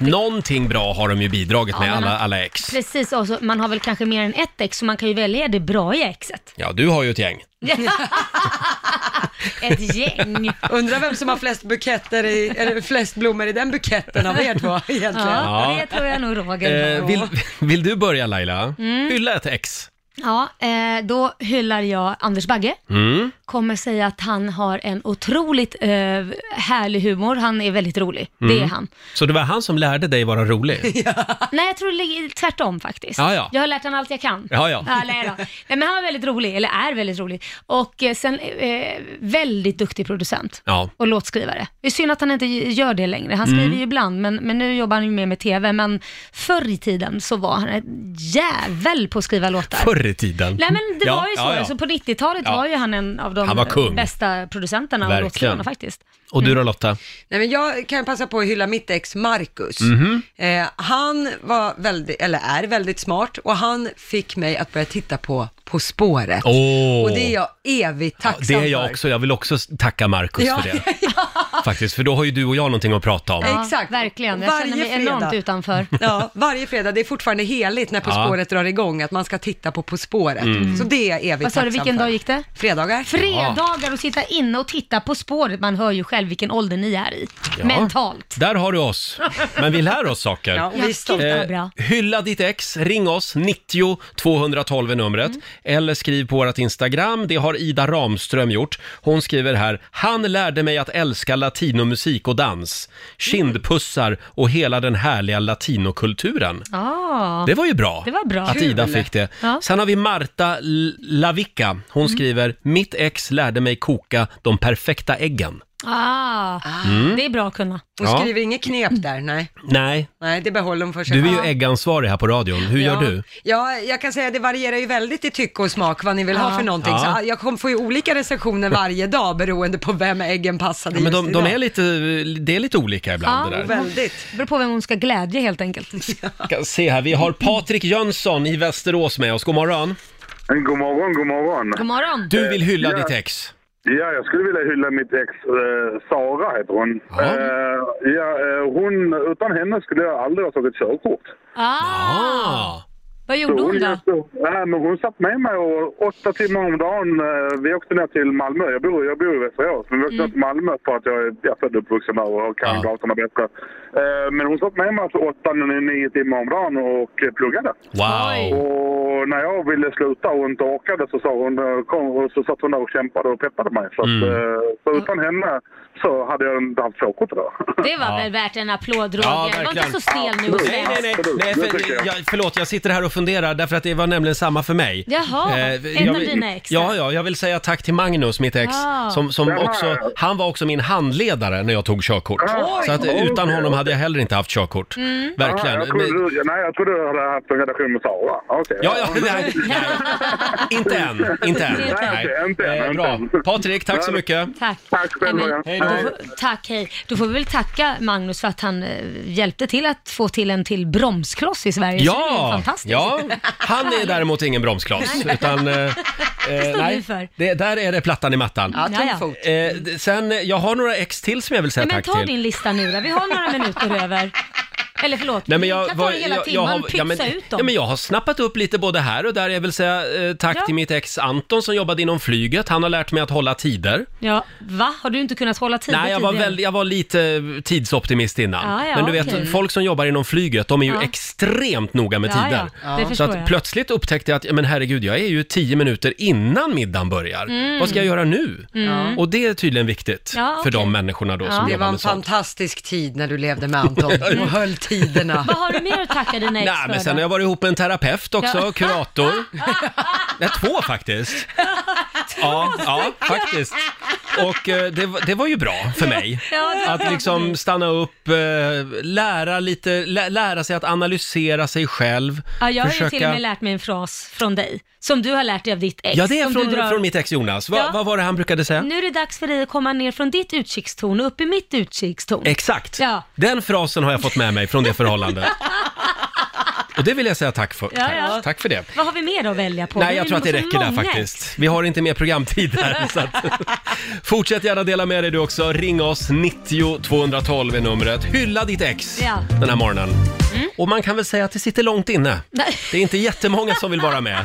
Speaker 1: Någonting bra har de ju bidragit med,
Speaker 4: Mm. men
Speaker 1: alla,
Speaker 4: man-
Speaker 1: alla ex.
Speaker 4: Precis, och så, man har väl kanske mer än ett ex, så man kan ju välja det bra i exet.
Speaker 1: Ja, du har ju ett gäng.
Speaker 4: Ett gäng.
Speaker 2: Undrar vem som har flest buketter i, eller flest blommor i den buketten av er två egentligen.
Speaker 4: Ja,
Speaker 1: Ja.
Speaker 4: det tror jag nog Roger
Speaker 1: Eh,
Speaker 4: har.
Speaker 1: vill, vill du börja Laila?
Speaker 4: Mm.
Speaker 1: Hylla ett ex.
Speaker 4: Ja, eh, då hyllar jag Anders Bagge.
Speaker 1: Mm.
Speaker 4: Kommer säga att han har en otroligt eh, härlig humor. Han är väldigt rolig. Det
Speaker 1: Mm.
Speaker 4: är han.
Speaker 1: Så det var han som lärde dig vara rolig?
Speaker 4: Nej, jag tror det ligger tvärtom faktiskt.
Speaker 1: Ja, ja.
Speaker 4: Jag har lärt honom allt jag kan.
Speaker 1: Ja, ja.
Speaker 4: nej, då. nej, men han var väldigt rolig, eller är väldigt rolig. Och eh, sen eh, väldigt duktig producent
Speaker 1: Ja. Mm.
Speaker 4: och låtskrivare. Det är synd att han inte gör det längre. Han skriver ju ibland, men, men nu jobbar han ju mer med TV. Men förr i tiden så var han en jävel på att skriva låtar.
Speaker 1: Förr i tiden.
Speaker 4: Nej men det
Speaker 1: Ja,
Speaker 4: var ju så.
Speaker 1: ja, ja.
Speaker 4: Alltså, på 90-talet
Speaker 1: Ja.
Speaker 4: var ju han en av de
Speaker 1: Han var kung.
Speaker 4: bästa producenterna
Speaker 1: Verkligen.
Speaker 4: och låtskrivarna faktiskt.
Speaker 1: Och du då Lotta?
Speaker 2: Nej, men jag kan passa på att hylla mitt ex Marcus.
Speaker 1: Mhm.
Speaker 2: Eh, han var väldigt, eller är väldigt smart och han fick mig att börja titta på På spåret.
Speaker 1: Åh.
Speaker 2: Och det är jag evigt
Speaker 1: Ja, det
Speaker 2: tacksam
Speaker 1: är jag
Speaker 2: för.
Speaker 1: också. Jag vill också tacka Markus
Speaker 2: Ja,
Speaker 1: för det. Faktiskt, för då har ju du och jag någonting att prata om.
Speaker 2: Ja, Exakt.
Speaker 4: Verkligen, jag
Speaker 2: Varje
Speaker 4: känner mig
Speaker 2: fredag.
Speaker 4: enormt utanför.
Speaker 2: Ja, varje fredag, det är fortfarande heligt när På
Speaker 1: Ja. Mm.
Speaker 2: spåret drar igång, att man ska titta på På spåret. Så det är jag evigt
Speaker 4: Vad sa du,
Speaker 2: tacksam
Speaker 4: vilken
Speaker 2: för.
Speaker 4: dag gick det?
Speaker 2: Fredagar.
Speaker 4: Fredagar och sitta inne och titta på spåret. Man hör ju själv vilken ålder ni är i.
Speaker 1: Ja.
Speaker 4: Mentalt.
Speaker 1: Där har du oss. Men vi lär oss saker.
Speaker 2: Ja, och
Speaker 4: Ja,
Speaker 2: vi är stolta.
Speaker 4: gud vad bra.
Speaker 1: Eh, hylla ditt ex, ring oss, 90 212 är numret.
Speaker 4: Mm.
Speaker 1: Eller skriv på vårt Instagram, det har Ida Ramström gjort. Hon skriver här, han lärde mig att älska latinomusik och dans, kindpussar och hela den härliga latinokulturen.
Speaker 4: Ah.
Speaker 1: Det var ju bra,
Speaker 4: Det var bra.
Speaker 1: att
Speaker 4: Kul.
Speaker 1: Ida fick det.
Speaker 4: Ja. Mm.
Speaker 1: Sen har vi Marta L- Lavicka. Hon skriver, mitt ex lärde mig koka de perfekta äggen.
Speaker 4: Ah. Det är bra att kunna.
Speaker 2: Hon
Speaker 1: Ja.
Speaker 2: skriver inget knep där, nej.
Speaker 1: Nej,
Speaker 2: Nej, det behåller hon för sig.
Speaker 1: du är
Speaker 2: Ja.
Speaker 1: ju äggansvarig här på radion. Hur gör
Speaker 2: ja.
Speaker 1: du?
Speaker 2: Ja, jag kan säga att det varierar ju väldigt i tycke och smak vad ni vill ha för någonting.
Speaker 1: Ja.
Speaker 2: Så jag kommer få ju olika recensioner varje dag beroende på vem äggen passade
Speaker 1: Ja, men de,
Speaker 2: just
Speaker 1: de
Speaker 2: idag.
Speaker 1: är lite, det är lite olika ibland
Speaker 4: Ja,
Speaker 1: det där.
Speaker 2: Väldigt.
Speaker 4: Det beror på vem hon ska glädja helt enkelt.
Speaker 1: Jag Ska se här, vi har Patrik Jönsson i Västerås med oss. God morgon.
Speaker 8: God morgon, god morgon.
Speaker 4: God morgon.
Speaker 1: Du vill hylla
Speaker 8: Ja.
Speaker 1: ditt ex.
Speaker 8: Ja, jag skulle vilja hylla mitt ex eh, Sara heter hon.
Speaker 1: Ja.
Speaker 8: Eh, ja, eh, hon. Utan henne skulle jag aldrig ha tagit körkort.
Speaker 4: Ah.
Speaker 1: Ah.
Speaker 4: Vad gjorde hon då?
Speaker 8: då? Nej, Äh, men hon satt med mig och åtta timmar om dagen. eh, Vi åkte ner till Malmö. Jag bor, jag bor i Västerås, men vi åkte ner till Malmö för att jag är jag är född och uppvuxen där och kan
Speaker 1: Mm. Ja.
Speaker 8: gatorna bättre. Eh, Men hon satt med mig alltså åtta, nio timmar om dagen och eh, pluggade.
Speaker 1: Wow.
Speaker 8: Och när jag ville sluta och inte orkade så, sa hon, eh, kom, och så satt hon där och kämpade och peppade mig. Så, att,
Speaker 1: Mm.
Speaker 8: eh, så utan henne så hade jag inte haft körkort idag.
Speaker 4: Det var väl värt en applåd Roger.
Speaker 1: Ja,
Speaker 4: var inte
Speaker 1: verkligen.
Speaker 4: så stel nu och
Speaker 1: Nej, nej, nej.
Speaker 8: Absolut,
Speaker 1: nej
Speaker 8: det tycker
Speaker 1: för,
Speaker 8: jag.
Speaker 1: jag, förlåt, jag sitter här och funderar därför att det var nämligen samma för mig.
Speaker 4: Jaha,
Speaker 1: Eh,
Speaker 4: en
Speaker 1: jag
Speaker 4: av
Speaker 1: vill-
Speaker 4: dina ex.
Speaker 1: Ja, ja, jag vill säga tack till Magnus, mitt ex,
Speaker 4: Ah.
Speaker 1: som, som
Speaker 8: Jaha.
Speaker 1: också, han var också min handledare när jag tog körkort.
Speaker 8: Ah.
Speaker 1: Så att
Speaker 8: Oj.
Speaker 1: utan honom hade jag heller inte haft körkort. Verkligen.
Speaker 8: Ah, jag, trodde,
Speaker 1: Men-
Speaker 8: du- nej, jag trodde du hade haft en relation med Sara. Okej.
Speaker 1: Ja, ja, nej, nej. Inte än, inte än.
Speaker 4: Nej,
Speaker 8: inte än,
Speaker 1: Eh,
Speaker 8: inte
Speaker 1: Bra.
Speaker 8: än.
Speaker 1: Patrik, tack så mycket.
Speaker 4: Tack.
Speaker 8: Tack själv,
Speaker 4: Nej, men-
Speaker 8: Roger.
Speaker 1: Hej
Speaker 4: Då
Speaker 1: då.
Speaker 4: får, tack, hej. Då får vi väl tacka Magnus för att han eh, hjälpte till att få till en till bromskloss i Sverige. Så det är ju
Speaker 1: Ja,
Speaker 4: fantastiskt.
Speaker 1: ja, han är däremot ingen bromskloss. Utan, eh, eh,
Speaker 4: står
Speaker 1: nej,
Speaker 4: vi för.
Speaker 1: det, där är det plattan i mattan.
Speaker 2: Ja, tung
Speaker 4: Ja, ja.
Speaker 2: fot.
Speaker 1: Eh, d- sen, eh, jag har några ex till som jag vill säga
Speaker 4: Nej, men
Speaker 1: tack
Speaker 4: ta
Speaker 1: till.
Speaker 4: din lista nu då. Vi har några minuter över. Eller förlåt,
Speaker 1: Nej, men
Speaker 4: vi
Speaker 1: jag,
Speaker 4: kan
Speaker 1: var-
Speaker 4: ta det hela
Speaker 1: jag, jag,
Speaker 4: timman,
Speaker 1: har,
Speaker 4: pytsa
Speaker 1: ja, men,
Speaker 4: ut
Speaker 1: ja,
Speaker 4: dem.
Speaker 1: men jag har snappat upp lite både här och där. Jag vill säga eh, tack
Speaker 4: Ja.
Speaker 1: till mitt ex Anton som jobbade inom flyget. Han har lärt mig att hålla tider.
Speaker 4: ja, va? Har du inte kunnat hålla tiden
Speaker 1: Nej, jag var,
Speaker 4: tidigare?
Speaker 1: väl, jag var lite tidsoptimist innan.
Speaker 4: Ja, ja,
Speaker 1: men du
Speaker 4: okej.
Speaker 1: vet, folk som jobbar inom flyget, de är ju
Speaker 4: Ja.
Speaker 1: extremt noga med
Speaker 4: Ja,
Speaker 1: tider.
Speaker 4: ja. Det
Speaker 1: Så
Speaker 4: förstår
Speaker 1: att
Speaker 4: jag.
Speaker 1: plötsligt upptäckte jag att, ja, men herregud, jag är ju tio minuter innan middagen börjar. Vad ska jag göra nu? Och det är tydligen viktigt
Speaker 4: Mm. Ja,
Speaker 1: för de
Speaker 4: okej.
Speaker 1: människorna då
Speaker 4: Ja.
Speaker 1: som
Speaker 2: Det var
Speaker 1: jobbar
Speaker 2: en
Speaker 1: med sånt.
Speaker 2: fantastisk tid när du levde med Anton och höll tiderna.
Speaker 4: Vad har du mer att tacka dina ex
Speaker 1: Nej, men
Speaker 4: för
Speaker 1: sen har
Speaker 4: då?
Speaker 1: jag varit ihop med en terapeut också,
Speaker 4: Ja.
Speaker 1: kurator. Nej, två faktiskt. Ja, ja faktiskt. Och eh, det, var- det var ju bra för mig.
Speaker 4: Ja, det var bra
Speaker 1: Att
Speaker 4: för
Speaker 1: liksom
Speaker 4: dig.
Speaker 1: stanna upp, eh, lära lite, lä- lära sig att analysera sig själv.
Speaker 4: Ja, jag har ju till och med lärt mig en fras från dig, som du har lärt dig av ditt ex.
Speaker 1: Ja, det är
Speaker 4: som du
Speaker 1: från,
Speaker 4: drar-
Speaker 1: från mitt ex Jonas. Va,
Speaker 4: Ja.
Speaker 1: Vad var det han brukade säga?
Speaker 4: Nu är det dags för dig att komma ner från ditt utkikstorn och upp i mitt utkikstorn.
Speaker 1: Exakt.
Speaker 4: Ja.
Speaker 1: Den frasen har jag fått med mig från det förhållandet. Och det vill jag säga tack för.
Speaker 4: Ja, ja.
Speaker 1: Tack för det.
Speaker 4: Vad har vi mer att välja på?
Speaker 1: Nej,
Speaker 4: Vi
Speaker 1: jag
Speaker 4: är
Speaker 1: tror att det
Speaker 4: nog så
Speaker 1: räcker där
Speaker 4: många.
Speaker 1: faktiskt. Vi har inte mer programtid här. Så att... Fortsätt gärna dela med dig du också. Ring oss, 90 212 är numret. Hylla ditt ex
Speaker 4: Ja. Mm.
Speaker 1: den här morgonen. Och man kan väl säga att det sitter långt inne.
Speaker 4: Nej.
Speaker 1: Det är inte jättemånga som vill vara med.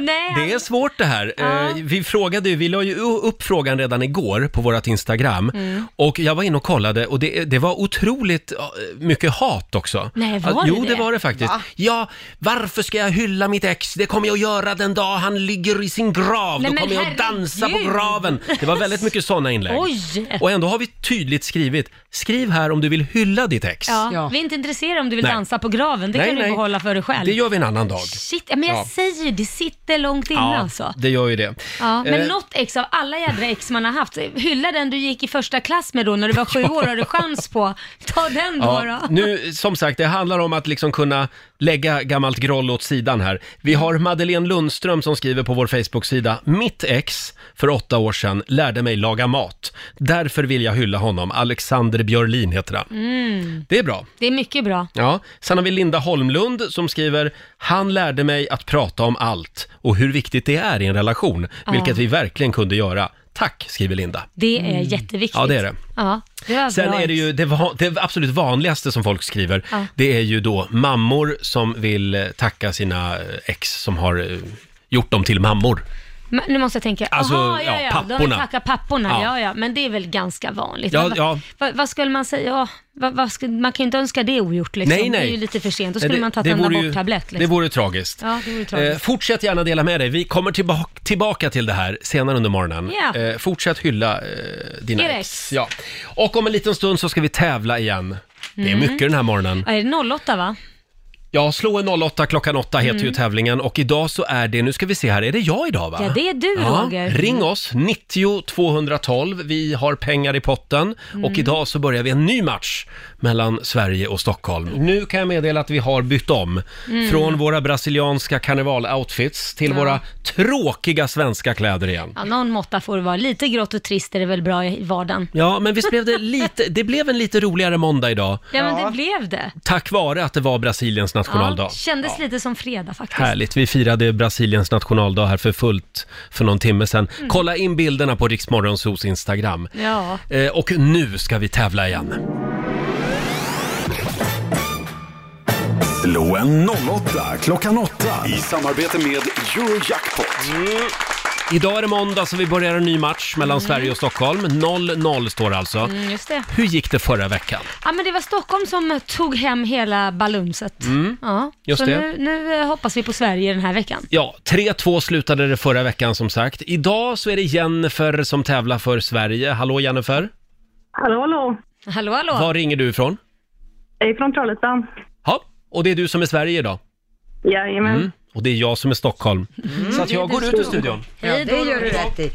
Speaker 4: Nej,
Speaker 1: Det är svårt det här. Eh, Vi frågade ju, vi la ju upp frågan redan igår på vårt Instagram.
Speaker 4: Mm.
Speaker 1: Och jag var inne och kollade och det, det var otroligt eh, mycket hat också.
Speaker 4: Nej, var
Speaker 1: Ah,
Speaker 4: det
Speaker 1: Jo, det
Speaker 4: det?
Speaker 1: var det faktiskt. Ja, varför ska jag hylla mitt ex? Det kommer jag att göra den dag han ligger i sin grav.
Speaker 4: Nej,
Speaker 1: Då
Speaker 4: men
Speaker 1: kommer jag att dansa på
Speaker 4: herregud.
Speaker 1: graven. Det var väldigt mycket sådana inlägg.
Speaker 4: Oj.
Speaker 1: Och ändå har vi tydligt skrivit, skriv här om du vill hylla ditt ex.
Speaker 4: Ja.
Speaker 2: Ja.
Speaker 4: Vi är inte intresserade om du vill
Speaker 1: Nej.
Speaker 4: dansa på graven. Det
Speaker 1: Nej,
Speaker 4: kan du
Speaker 1: nej.
Speaker 4: behålla för dig själv.
Speaker 1: Det gör vi en annan dag.
Speaker 4: Shit, ja, men jag
Speaker 1: Ja.
Speaker 4: säger ju, det sitter långt inne alltså.
Speaker 1: det gör ju det.
Speaker 4: Ja, men
Speaker 1: Eh,
Speaker 4: något ex av alla jädra ex man har haft, hylla den du gick i första klass med då när du var sju år, har du chans på. Ta den då.
Speaker 1: Ja,
Speaker 4: då.
Speaker 1: nu, som sagt, det handlar om att liksom kunna lägga gammalt groll åt sidan här. Vi har Madeleine Lundström som skriver på vår Facebook-sida. Mitt ex för åtta år sedan lärde mig laga mat. Därför vill jag hylla honom. Alexander Björlin heter han. Det är bra.
Speaker 4: Det är mycket bra.
Speaker 1: Ja. Sen har vi Linda Holmlund som skriver “Han lärde mig att prata om allt och hur viktigt det är i en relation, vilket vi verkligen kunde göra. Tack” skriver Linda.
Speaker 4: Det är jätteviktigt.
Speaker 1: Mm. Ja, det är det.
Speaker 4: Ja, det var
Speaker 1: Sen
Speaker 4: bra
Speaker 1: är det ju det, va- det absolut vanligaste som folk skriver,
Speaker 4: Ja.
Speaker 1: det är ju då mammor som vill eh, tacka sina eh, ex som har eh, gjort dem till mammor.
Speaker 4: Men nu måste jag tänka,
Speaker 1: Alltså,
Speaker 4: aha, ja,
Speaker 1: ja,
Speaker 4: ja, de vill
Speaker 1: papporna.
Speaker 4: tacka papporna,
Speaker 1: Ja.
Speaker 4: ja. ja, men det är väl ganska vanligt.
Speaker 1: Ja,
Speaker 4: vad,
Speaker 1: ja.
Speaker 4: Vad, vad skulle man säga, ja, vad, vad skulle, man kan ju inte önska det ogjort liksom.
Speaker 1: Nej, nej.
Speaker 4: Det är ju lite för sent, då
Speaker 1: Nej,
Speaker 4: skulle
Speaker 1: det-
Speaker 4: man
Speaker 1: det
Speaker 4: tagit en
Speaker 1: vore ju-
Speaker 4: aborttablett
Speaker 1: Det
Speaker 4: liksom.
Speaker 1: vore tragiskt.
Speaker 4: Ja, det vore tragiskt.
Speaker 1: Eh, fortsätt gärna dela med dig. Vi kommer tillbaka, tillbaka till det här senare under morgonen.
Speaker 4: Ja.
Speaker 1: Eh, fortsätt hylla eh, dina
Speaker 4: Er
Speaker 1: ex.
Speaker 4: ex.
Speaker 1: Ja. Och om en liten stund så ska vi tävla igen.
Speaker 4: Mm.
Speaker 1: Det är mycket den här morgonen.
Speaker 4: Ja, är det 08 va?
Speaker 1: Ja, slå en 08 klockan 8 heter ju tävlingen och idag så är det, nu ska vi se här, är det jag idag va?
Speaker 4: Mm. Ja, det är du Roger. Mm.
Speaker 1: Ring oss, 90 212. Vi har pengar i potten
Speaker 4: Mm.
Speaker 1: och idag så börjar vi en ny match mellan Sverige och Stockholm. Nu kan jag meddela att vi har bytt om
Speaker 4: Mm.
Speaker 1: från våra brasilianska karnevaloutfits till våra tråkiga svenska kläder igen.
Speaker 4: Ja, någon måtta får det vara. Lite grått och trist är det väl bra i vardagen.
Speaker 1: Ja, men visst blev det lite, det blev en lite roligare måndag idag
Speaker 4: Ja, men det blev det.
Speaker 1: tack vare att det var Brasiliens nationaldag.
Speaker 4: Ja, kändes lite som fredag faktiskt.
Speaker 1: Härligt, vi firade Brasiliens nationaldag här för fullt för någon timme sedan. Kolla in bilderna på Riksmorgonsos Instagram.
Speaker 4: Ja.
Speaker 1: Eh, och nu ska vi tävla igen.
Speaker 3: Slå en 08 klockan 8 i samarbete med Eurojackpot.
Speaker 1: Idag är det måndag så vi börjar en ny match mellan Sverige och Stockholm. 0-0 står det alltså.
Speaker 4: Mm, just det.
Speaker 1: Hur gick det förra veckan?
Speaker 4: Ja, men det var Stockholm som tog hem hela balunset. Ja,
Speaker 1: Mm. just
Speaker 4: så
Speaker 1: det.
Speaker 4: Nu, nu eh, hoppas vi på Sverige den här veckan.
Speaker 1: Ja, 3-2 slutade det förra veckan som sagt. Idag så är det Jennifer som tävlar för Sverige. Hallå Jennifer,
Speaker 7: Hallå, hallå.
Speaker 4: Hallå, hallå.
Speaker 1: var ringer du ifrån?
Speaker 7: Jag är från Trollhättan.
Speaker 1: Ja, och det är du som är Sverige idag.
Speaker 7: Jajamän.
Speaker 1: Och det är jag som är Stockholm. Så att jag går ut ur studion.
Speaker 2: Ja, det gör du rätt i.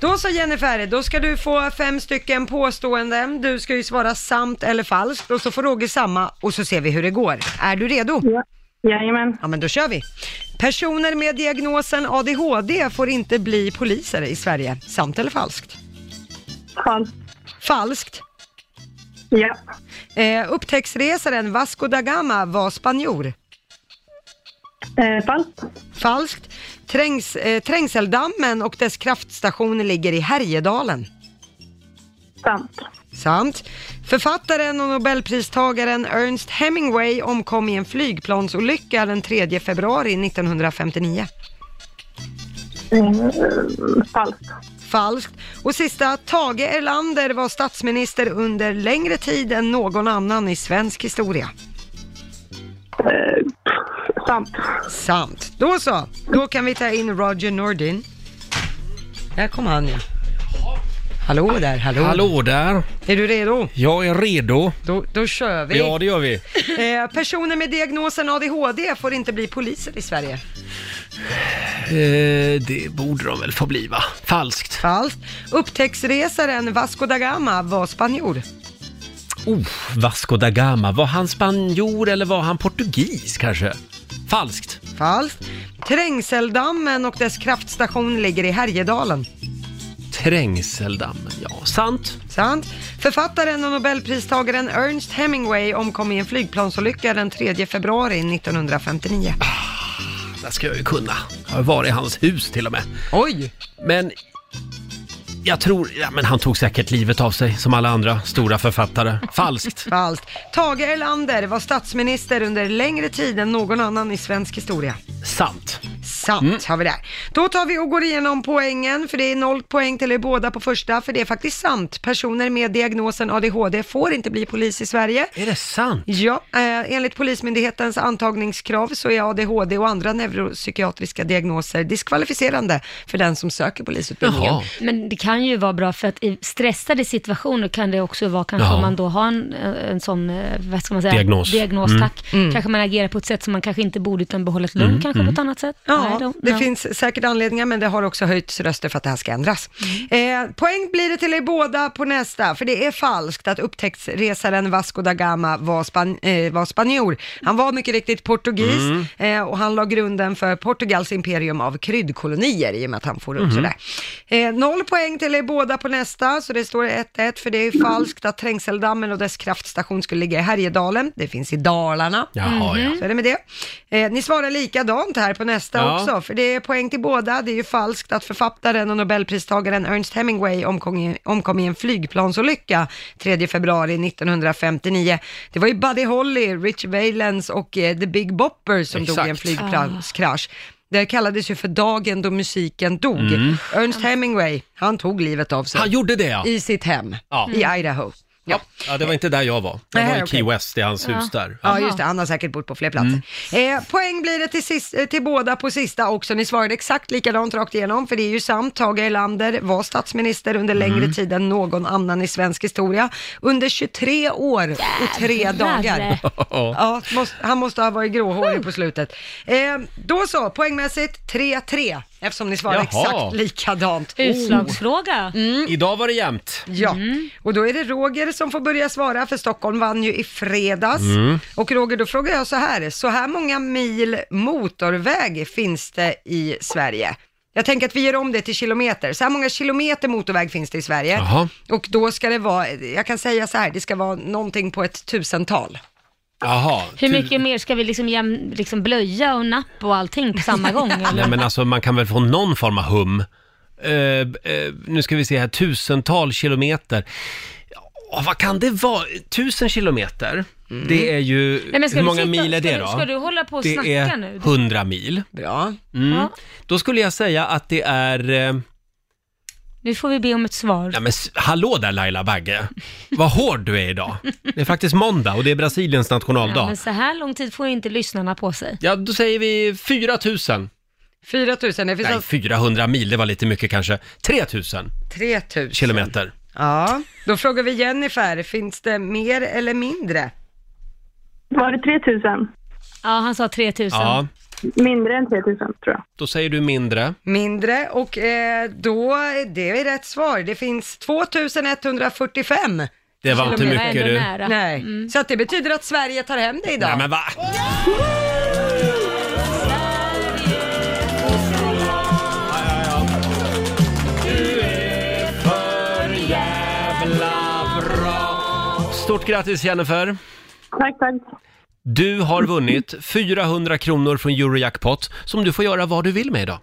Speaker 2: Då så Jennifer, då ska du få fem stycken påståenden. Du ska ju svara sant eller falskt och så får Roger samma och så ser vi hur det går. Är du redo?
Speaker 7: Ja. Jajamän.
Speaker 2: Ja, men då kör vi. Personer med diagnosen ADHD får inte bli poliser i Sverige. Sant eller falskt?
Speaker 7: Falskt.
Speaker 2: Falskt.
Speaker 7: Ja.
Speaker 2: Eh, upptäcktsresaren Vasco da Gama var spanjor.
Speaker 7: Eh, falskt.
Speaker 2: Falskt. Trängs, eh, trängseldammen och dess kraftstation ligger i Härjedalen.
Speaker 7: Sant.
Speaker 2: Sant. Författaren och nobelpristagaren Ernst Hemingway omkom i en flygplansolycka den 3 februari 1959.
Speaker 7: Falskt.
Speaker 2: Falskt. Och sista, Tage Erlander var statsminister under längre tid än någon annan i svensk historia.
Speaker 7: Eh, pff, sant.
Speaker 2: Sant. Då så, då kan vi ta in Roger Nordin. Där kom han ja. Hallå där, hallå.
Speaker 1: Hallå där!
Speaker 2: Är du redo?
Speaker 1: Jag är redo.
Speaker 2: Då, då kör vi.
Speaker 1: Ja, det gör vi.
Speaker 2: Eh, personer med diagnosen ADHD får inte bli poliser i Sverige.
Speaker 1: Eh, det borde de väl få bli, va? Falskt.
Speaker 2: Falskt. Upptäcktsresaren Vasco da Gama var spanjor.
Speaker 1: Oh, Vasco da Gama. Var han spanjor eller var han portugis kanske? Falskt.
Speaker 2: Falskt. Trängseldammen och dess kraftstation ligger i Härjedalen.
Speaker 1: Trängseldammen, ja. Sant.
Speaker 2: Sant. Författaren och nobelpristagaren Ernest Hemingway omkom i en flygplansolycka den 3 februari 1959.
Speaker 1: Där ska jag ju kunna. Jag har varit i hans hus till och med.
Speaker 2: Oj!
Speaker 1: Men jag tror, ja men han tog säkert livet av sig som alla andra stora författare. Falskt.
Speaker 2: Falskt. Tage Erlander var statsminister under längre tid än någon annan i svensk historia.
Speaker 1: Sant.
Speaker 2: Sant har vi där. Då tar vi och går igenom poängen, för det är noll poäng till er båda på första, för det är faktiskt sant. Personer med diagnosen ADHD får inte bli polis i Sverige.
Speaker 1: Är det sant?
Speaker 2: Ja, eh, enligt Polismyndighetens antagningskrav så är ADHD och andra neuropsykiatriska diagnoser diskvalificerande för den som söker polisutbildningen.
Speaker 1: Jaha.
Speaker 4: Men det kan ju vara bra för att i stressade situationer kan det också vara kanske
Speaker 1: Ja.
Speaker 4: om man då har en, en sån, eh, vad ska man säga?
Speaker 1: Diagnos. Mm.
Speaker 4: Diagnos, tack. Kanske man agerar på ett sätt som man kanske inte borde utan behålla ett lugn kanske på ett
Speaker 1: Mm.
Speaker 4: annat sätt. I
Speaker 2: Ja,
Speaker 4: don't
Speaker 2: det
Speaker 4: know.
Speaker 2: finns säkert anledningar, men det har också höjts röster för att det här ska ändras. Eh, poäng blir det till er båda på nästa, för det är falskt att upptäcktsresaren Vasco da Gama var, span eh, var spanjor. Han var mycket riktigt portugis eh, och han la grunden för Portugals imperium av kryddkolonier i och med att han for runt sådär. Eh, noll poäng till er båda på nästa, så det står 1-1, för det är falskt att Trängseldammen och dess kraftstation skulle ligga i Härjedalen. Det finns i Dalarna.
Speaker 1: Jaha, ja.
Speaker 2: Så är det med det. Eh, ni svarar likadant här på nästa
Speaker 1: Ja.
Speaker 2: också, för det är poäng till båda. Det är ju falskt att författaren och nobelpristagaren Ernst Hemingway omkom i, omkom i en flygplansolycka 3 februari 1959. Det var ju Buddy Holly, Rich Valens och eh, The Big Bopper som dog i en
Speaker 1: Exakt.
Speaker 2: flygplanskrasch. Det kallades ju för dagen då musiken dog. Ernst Hemingway, han tog livet av sig
Speaker 1: Mm. Han gjorde det ja.
Speaker 2: i sitt hem
Speaker 1: Ja.
Speaker 2: i Idaho.
Speaker 1: ja. Ja, det var inte där jag var. Jag var
Speaker 2: Nej,
Speaker 1: i Key
Speaker 2: okej.
Speaker 1: West i hans hus där.
Speaker 2: Ja, just det. Han har säkert bott på fler platser. Eh, poäng blir det till, sist, eh, till båda på sista också. Ni svarade exakt likadant rakt igenom, för det är ju sant. Tage Erlander var statsminister under längre tid än någon annan i svensk historia. Under 23 år och tre dagar. Ja, måste, han måste ha varit gråhårig på slutet. Eh, då så, poängmässigt 3-3, eftersom ni svarade
Speaker 1: Jaha.
Speaker 2: exakt likadant.
Speaker 4: Utslagsfråga.
Speaker 1: Idag var det jämnt.
Speaker 2: Ja,
Speaker 1: Mm.
Speaker 2: och då är det Roger som får börja svara för Stockholm vann ju i fredags.
Speaker 1: Mm.
Speaker 2: Och Roger, då frågar jag så här, så här många mil motorväg finns det i Sverige? Jag tänker att vi gör om det till kilometer. Så här många kilometer motorväg finns det i Sverige.
Speaker 1: Jaha.
Speaker 2: Och då ska det vara, jag kan säga så här, det ska vara någonting på ett tusental.
Speaker 1: Jaha.
Speaker 4: Hur
Speaker 1: tu-
Speaker 4: mycket mer ska vi liksom, jäm, liksom blöja och napp och allting på samma gång?
Speaker 1: Nej
Speaker 4: Eller?
Speaker 1: men alltså man kan väl få någon form av hum. Eh, eh, nu ska vi se här, tusental kilometer. Ja, vad kan det vara? Tusen kilometer, det är ju...
Speaker 4: Mm. Nej, men ska
Speaker 1: hur
Speaker 4: du
Speaker 1: många
Speaker 4: sitta-
Speaker 1: mil är
Speaker 4: ska
Speaker 1: det
Speaker 4: du-
Speaker 1: då?
Speaker 4: ska du hålla på och
Speaker 1: det
Speaker 4: snacka
Speaker 1: är
Speaker 4: nu?
Speaker 1: 100 mil.
Speaker 2: Bra.
Speaker 4: Ja,
Speaker 1: Då skulle jag säga att det är... Eh,
Speaker 4: nu får vi be om ett svar.
Speaker 1: ja, men s- hallå där Laila Bagge! Vad hård du är idag! Det är faktiskt måndag och det är Brasiliens
Speaker 4: Ja,
Speaker 1: nationaldag.
Speaker 4: men så här lång tid får ju inte lyssnarna på sig.
Speaker 1: Ja, då säger vi 4000.
Speaker 2: 4 000, det finns
Speaker 1: Nej,
Speaker 2: alltså
Speaker 1: 400 mil, det var lite mycket kanske. 3000
Speaker 2: 3 000.
Speaker 1: kilometer.
Speaker 2: Ja, då frågar vi Jennifer, finns det mer eller mindre?
Speaker 7: Var det 3000?
Speaker 4: Ja, han sa 3000.
Speaker 1: Ja,
Speaker 7: Mindre än 3000 tror jag.
Speaker 1: då säger du mindre.
Speaker 2: Mindre och eh, då, det är rätt svar. Det finns 2145.
Speaker 1: Det var inte
Speaker 4: Kilometer
Speaker 1: mycket
Speaker 4: ändå
Speaker 1: du.
Speaker 4: nära.
Speaker 2: Nej,
Speaker 4: Mm.
Speaker 2: så att det betyder att Sverige tar hem det idag.
Speaker 1: Nej men va? Stort grattis Jennifer!
Speaker 7: Tack, tack.
Speaker 1: Du har vunnit 400 kronor från Eurojackpot som du får göra vad du vill med idag.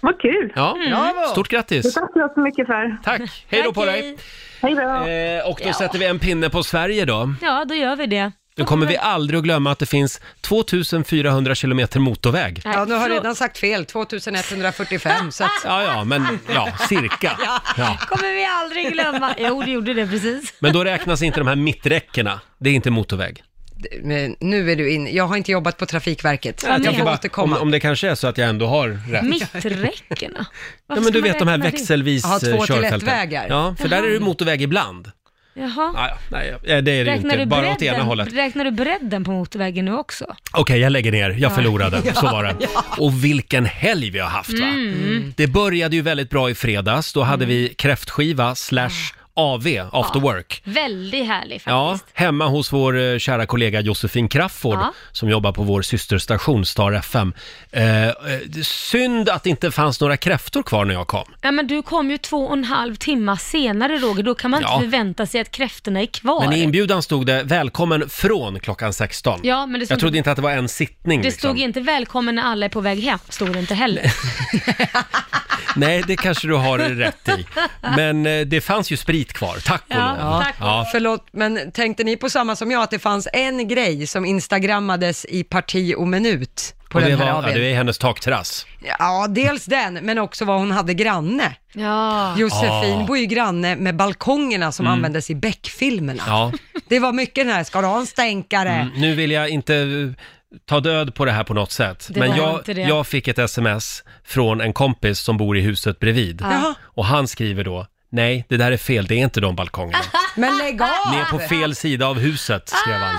Speaker 7: Vad kul!
Speaker 1: Ja,
Speaker 2: Bravo.
Speaker 1: stort grattis!
Speaker 7: Tack så mycket för.
Speaker 1: Tack! Hej då
Speaker 4: Tack,
Speaker 1: på dig!
Speaker 4: hej.
Speaker 7: Hej då!
Speaker 1: Eh, och då sätter vi en pinne på Sverige då.
Speaker 4: Ja, då gör vi det.
Speaker 1: Nu kommer vi aldrig att glömma att det finns 2400 kilometer motorväg.
Speaker 4: Nej,
Speaker 2: Ja, nu har jag
Speaker 4: förlåt.
Speaker 2: redan sagt fel. 2145. så att,
Speaker 1: Ja, ja, men ja, cirka. Ja.
Speaker 4: kommer vi aldrig glömma. Jo, du gjorde det precis.
Speaker 1: Men då räknas inte de här mitträckena. Det är inte motorväg.
Speaker 2: men nu är du in. Jag har inte jobbat på Trafikverket.
Speaker 4: Jag
Speaker 2: jag
Speaker 4: tänker
Speaker 2: får
Speaker 4: bara-
Speaker 1: om,
Speaker 2: återkomma.
Speaker 1: om det kanske är så att jag ändå har rätt.
Speaker 4: Mitträckena?
Speaker 1: Ja, men du vet de här växelvis
Speaker 2: Ja, två till
Speaker 1: eh, körfälten.
Speaker 2: ett-vägar.
Speaker 1: Ja, för där är det motorväg ibland.
Speaker 4: Jaha.
Speaker 1: Ja, ja, nej, ja, det är det ju
Speaker 4: Räknar
Speaker 1: inte.
Speaker 4: du,
Speaker 1: Bara åt ena
Speaker 4: bredden,
Speaker 1: hållet.
Speaker 4: räknar du bredden på motorvägen nu också?
Speaker 1: Okej, jag lägger ner. Jag förlorade. Så var det. Och vilken helg vi har Mm. haft va? Det började ju väldigt bra i fredags. Då hade vi kräftskiva slash AV, after work.
Speaker 4: Väldigt härlig
Speaker 1: Ja,
Speaker 4: faktiskt.
Speaker 1: hemma hos vår eh, kära kollega Josefin Crafoord
Speaker 4: Ja.
Speaker 1: som jobbar på vår systerstation Star FM. Eh, eh, synd att det inte fanns några kräftor kvar när jag kom.
Speaker 4: Ja. men du kom ju två och en halv timme senare Roger, då kan man
Speaker 1: Ja.
Speaker 4: inte förvänta sig att kräftorna är kvar.
Speaker 1: Men i inbjudan stod det “Välkommen från klockan 16”.
Speaker 4: Ja, men det stod-
Speaker 1: jag trodde inte att det var en sittning.
Speaker 4: Det
Speaker 1: liksom.
Speaker 4: stod inte välkommen när alla är på väg hem, stod det inte heller.
Speaker 1: Nej, det kanske du har rätt i. Men eh, det fanns ju sprit kvar, tack och
Speaker 4: Ja,
Speaker 1: lov.
Speaker 4: tack och
Speaker 1: Ja.
Speaker 2: Förlåt, men tänkte ni på samma som jag, att det fanns en grej som instagrammades i parti och minut på
Speaker 1: Och det,
Speaker 2: den
Speaker 1: var,
Speaker 2: här
Speaker 1: ja,
Speaker 2: AWn?
Speaker 1: det är hennes takterrass.
Speaker 2: Ja, dels den, men också vad hon hade granne.
Speaker 4: Ja.
Speaker 2: Josefin
Speaker 1: Ah. Mm.
Speaker 2: bor ju granne med balkongerna som användes i Beck-filmerna.
Speaker 1: Ja. Mm.
Speaker 2: Det var mycket den här, ska du ha en stänkare?
Speaker 1: Nu vill jag inte eh, ta död på det här på något sätt,
Speaker 4: Det
Speaker 1: men
Speaker 4: var
Speaker 1: jag,
Speaker 4: inte det.
Speaker 1: jag fick ett sms från en kompis som bor i huset bredvid.
Speaker 2: Jaha.
Speaker 1: Och han skriver då, nej, det där är fel, det är inte de balkongerna.
Speaker 2: Men lägg av!
Speaker 1: Ni är på fel sida av huset, skrev han.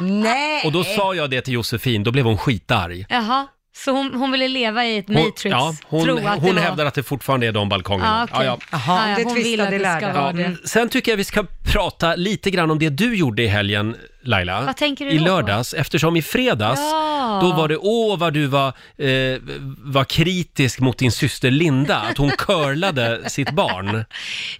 Speaker 2: Nej!
Speaker 4: Ah,
Speaker 1: Och då sa jag det till Josefin, då blev hon skitarg.
Speaker 4: Jaha, så hon, hon ville leva i ett
Speaker 1: Hon,
Speaker 4: matrix?
Speaker 1: ja, hon
Speaker 4: tro att
Speaker 1: hon
Speaker 4: det var...
Speaker 1: hävdar att det fortfarande är de balkongerna.
Speaker 4: Ja, okej.
Speaker 1: Ja, ja.
Speaker 2: Jaha, det
Speaker 4: hon
Speaker 2: tvistade
Speaker 4: vill att det
Speaker 2: lärde.
Speaker 4: ska
Speaker 2: Ja,
Speaker 4: vara det.
Speaker 1: mm, Sen tycker jag vi ska prata lite grann om det du gjorde i helgen, Laila.
Speaker 4: Vad tänker du
Speaker 1: I
Speaker 4: då?
Speaker 1: lördags, eftersom i fredags,
Speaker 4: Ja.
Speaker 1: då var det, åh vad du var, eh, var kritisk mot din syster Linda, att hon curlade sitt barn.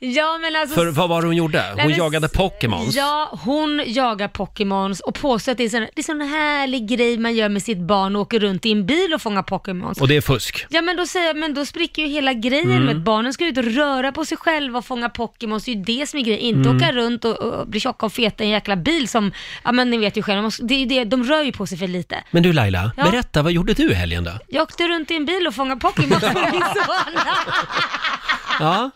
Speaker 4: Ja, men alltså...
Speaker 1: För vad var det hon gjorde?
Speaker 4: Nej,
Speaker 1: Hon
Speaker 4: men-
Speaker 1: jagade Pokémons.
Speaker 4: Ja, hon jagar Pokémons och påstår att det är sån- det är sån härlig grej man gör med sitt barn och åker runt i en bil och fångar Pokémons.
Speaker 1: Och det är fusk.
Speaker 4: Ja men då säger jag, men då spricker ju hela grejen
Speaker 1: Mm.
Speaker 4: med att barnen ska ut och röra på sig själva och fånga Pokémons, det är ju det som är grejen. Inte
Speaker 1: Mm.
Speaker 4: åka runt och, och bli tjocka och feta i en jäkla bil som, ja men ni vet ju själva, man ska- det är ju det, de rör ju på sig för lite.
Speaker 1: Men du Laila,
Speaker 4: Ja.
Speaker 1: berätta, vad gjorde du i helgen då?
Speaker 4: Jag åkte runt i en bil och fångade Pokémons med min son.
Speaker 1: Ja.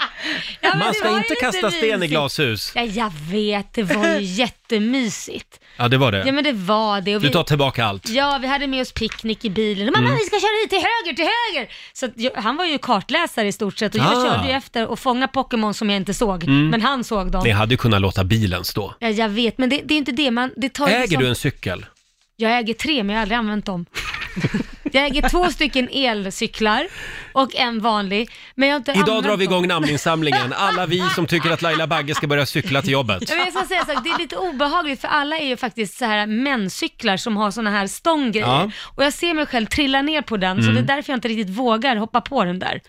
Speaker 4: Ja,
Speaker 1: Man
Speaker 4: men det var
Speaker 1: ska
Speaker 4: ju
Speaker 1: inte
Speaker 4: lite
Speaker 1: kasta sten i
Speaker 4: mysigt.
Speaker 1: glashus.
Speaker 4: Ja, jag vet, det var ju jättemysigt.
Speaker 1: Ja, det var
Speaker 4: Ja
Speaker 1: det.
Speaker 4: men det var det. Och
Speaker 1: Du
Speaker 4: vi,
Speaker 1: tar tillbaka allt.
Speaker 4: Ja, vi hade med oss picknick i bilen. Mamma,
Speaker 1: Mm.
Speaker 4: vi ska köra hit till höger, till höger! Så att jag, han var ju kartläsare i stort sett och jag
Speaker 1: Ah. Mm.
Speaker 4: körde ju efter och fångade Pokémon som jag inte såg, men han såg dem.
Speaker 1: Ni hade ju kunnat låta bilen stå.
Speaker 4: Ja, jag vet, men det, det är inte det man... Det tar ju
Speaker 1: Äger
Speaker 4: liksom-
Speaker 1: du en cykel?
Speaker 4: Jag äger tre, men jag har aldrig använt dem. jag äger två stycken elcyklar och en vanlig, men jag har inte
Speaker 1: Idag
Speaker 4: använt
Speaker 1: drar vi
Speaker 4: dem.
Speaker 1: igång namninsamlingen. Alla vi som tycker att Laila Bagge ska börja cykla till jobbet.
Speaker 4: Ja, men jag ska säga så här, det är lite obehagligt för alla är ju faktiskt så här menscyklar som har såna här stånggrejer.
Speaker 1: Ja. Mm.
Speaker 4: Och jag ser mig själv trilla ner på den, så det är därför jag inte riktigt vågar hoppa på den där.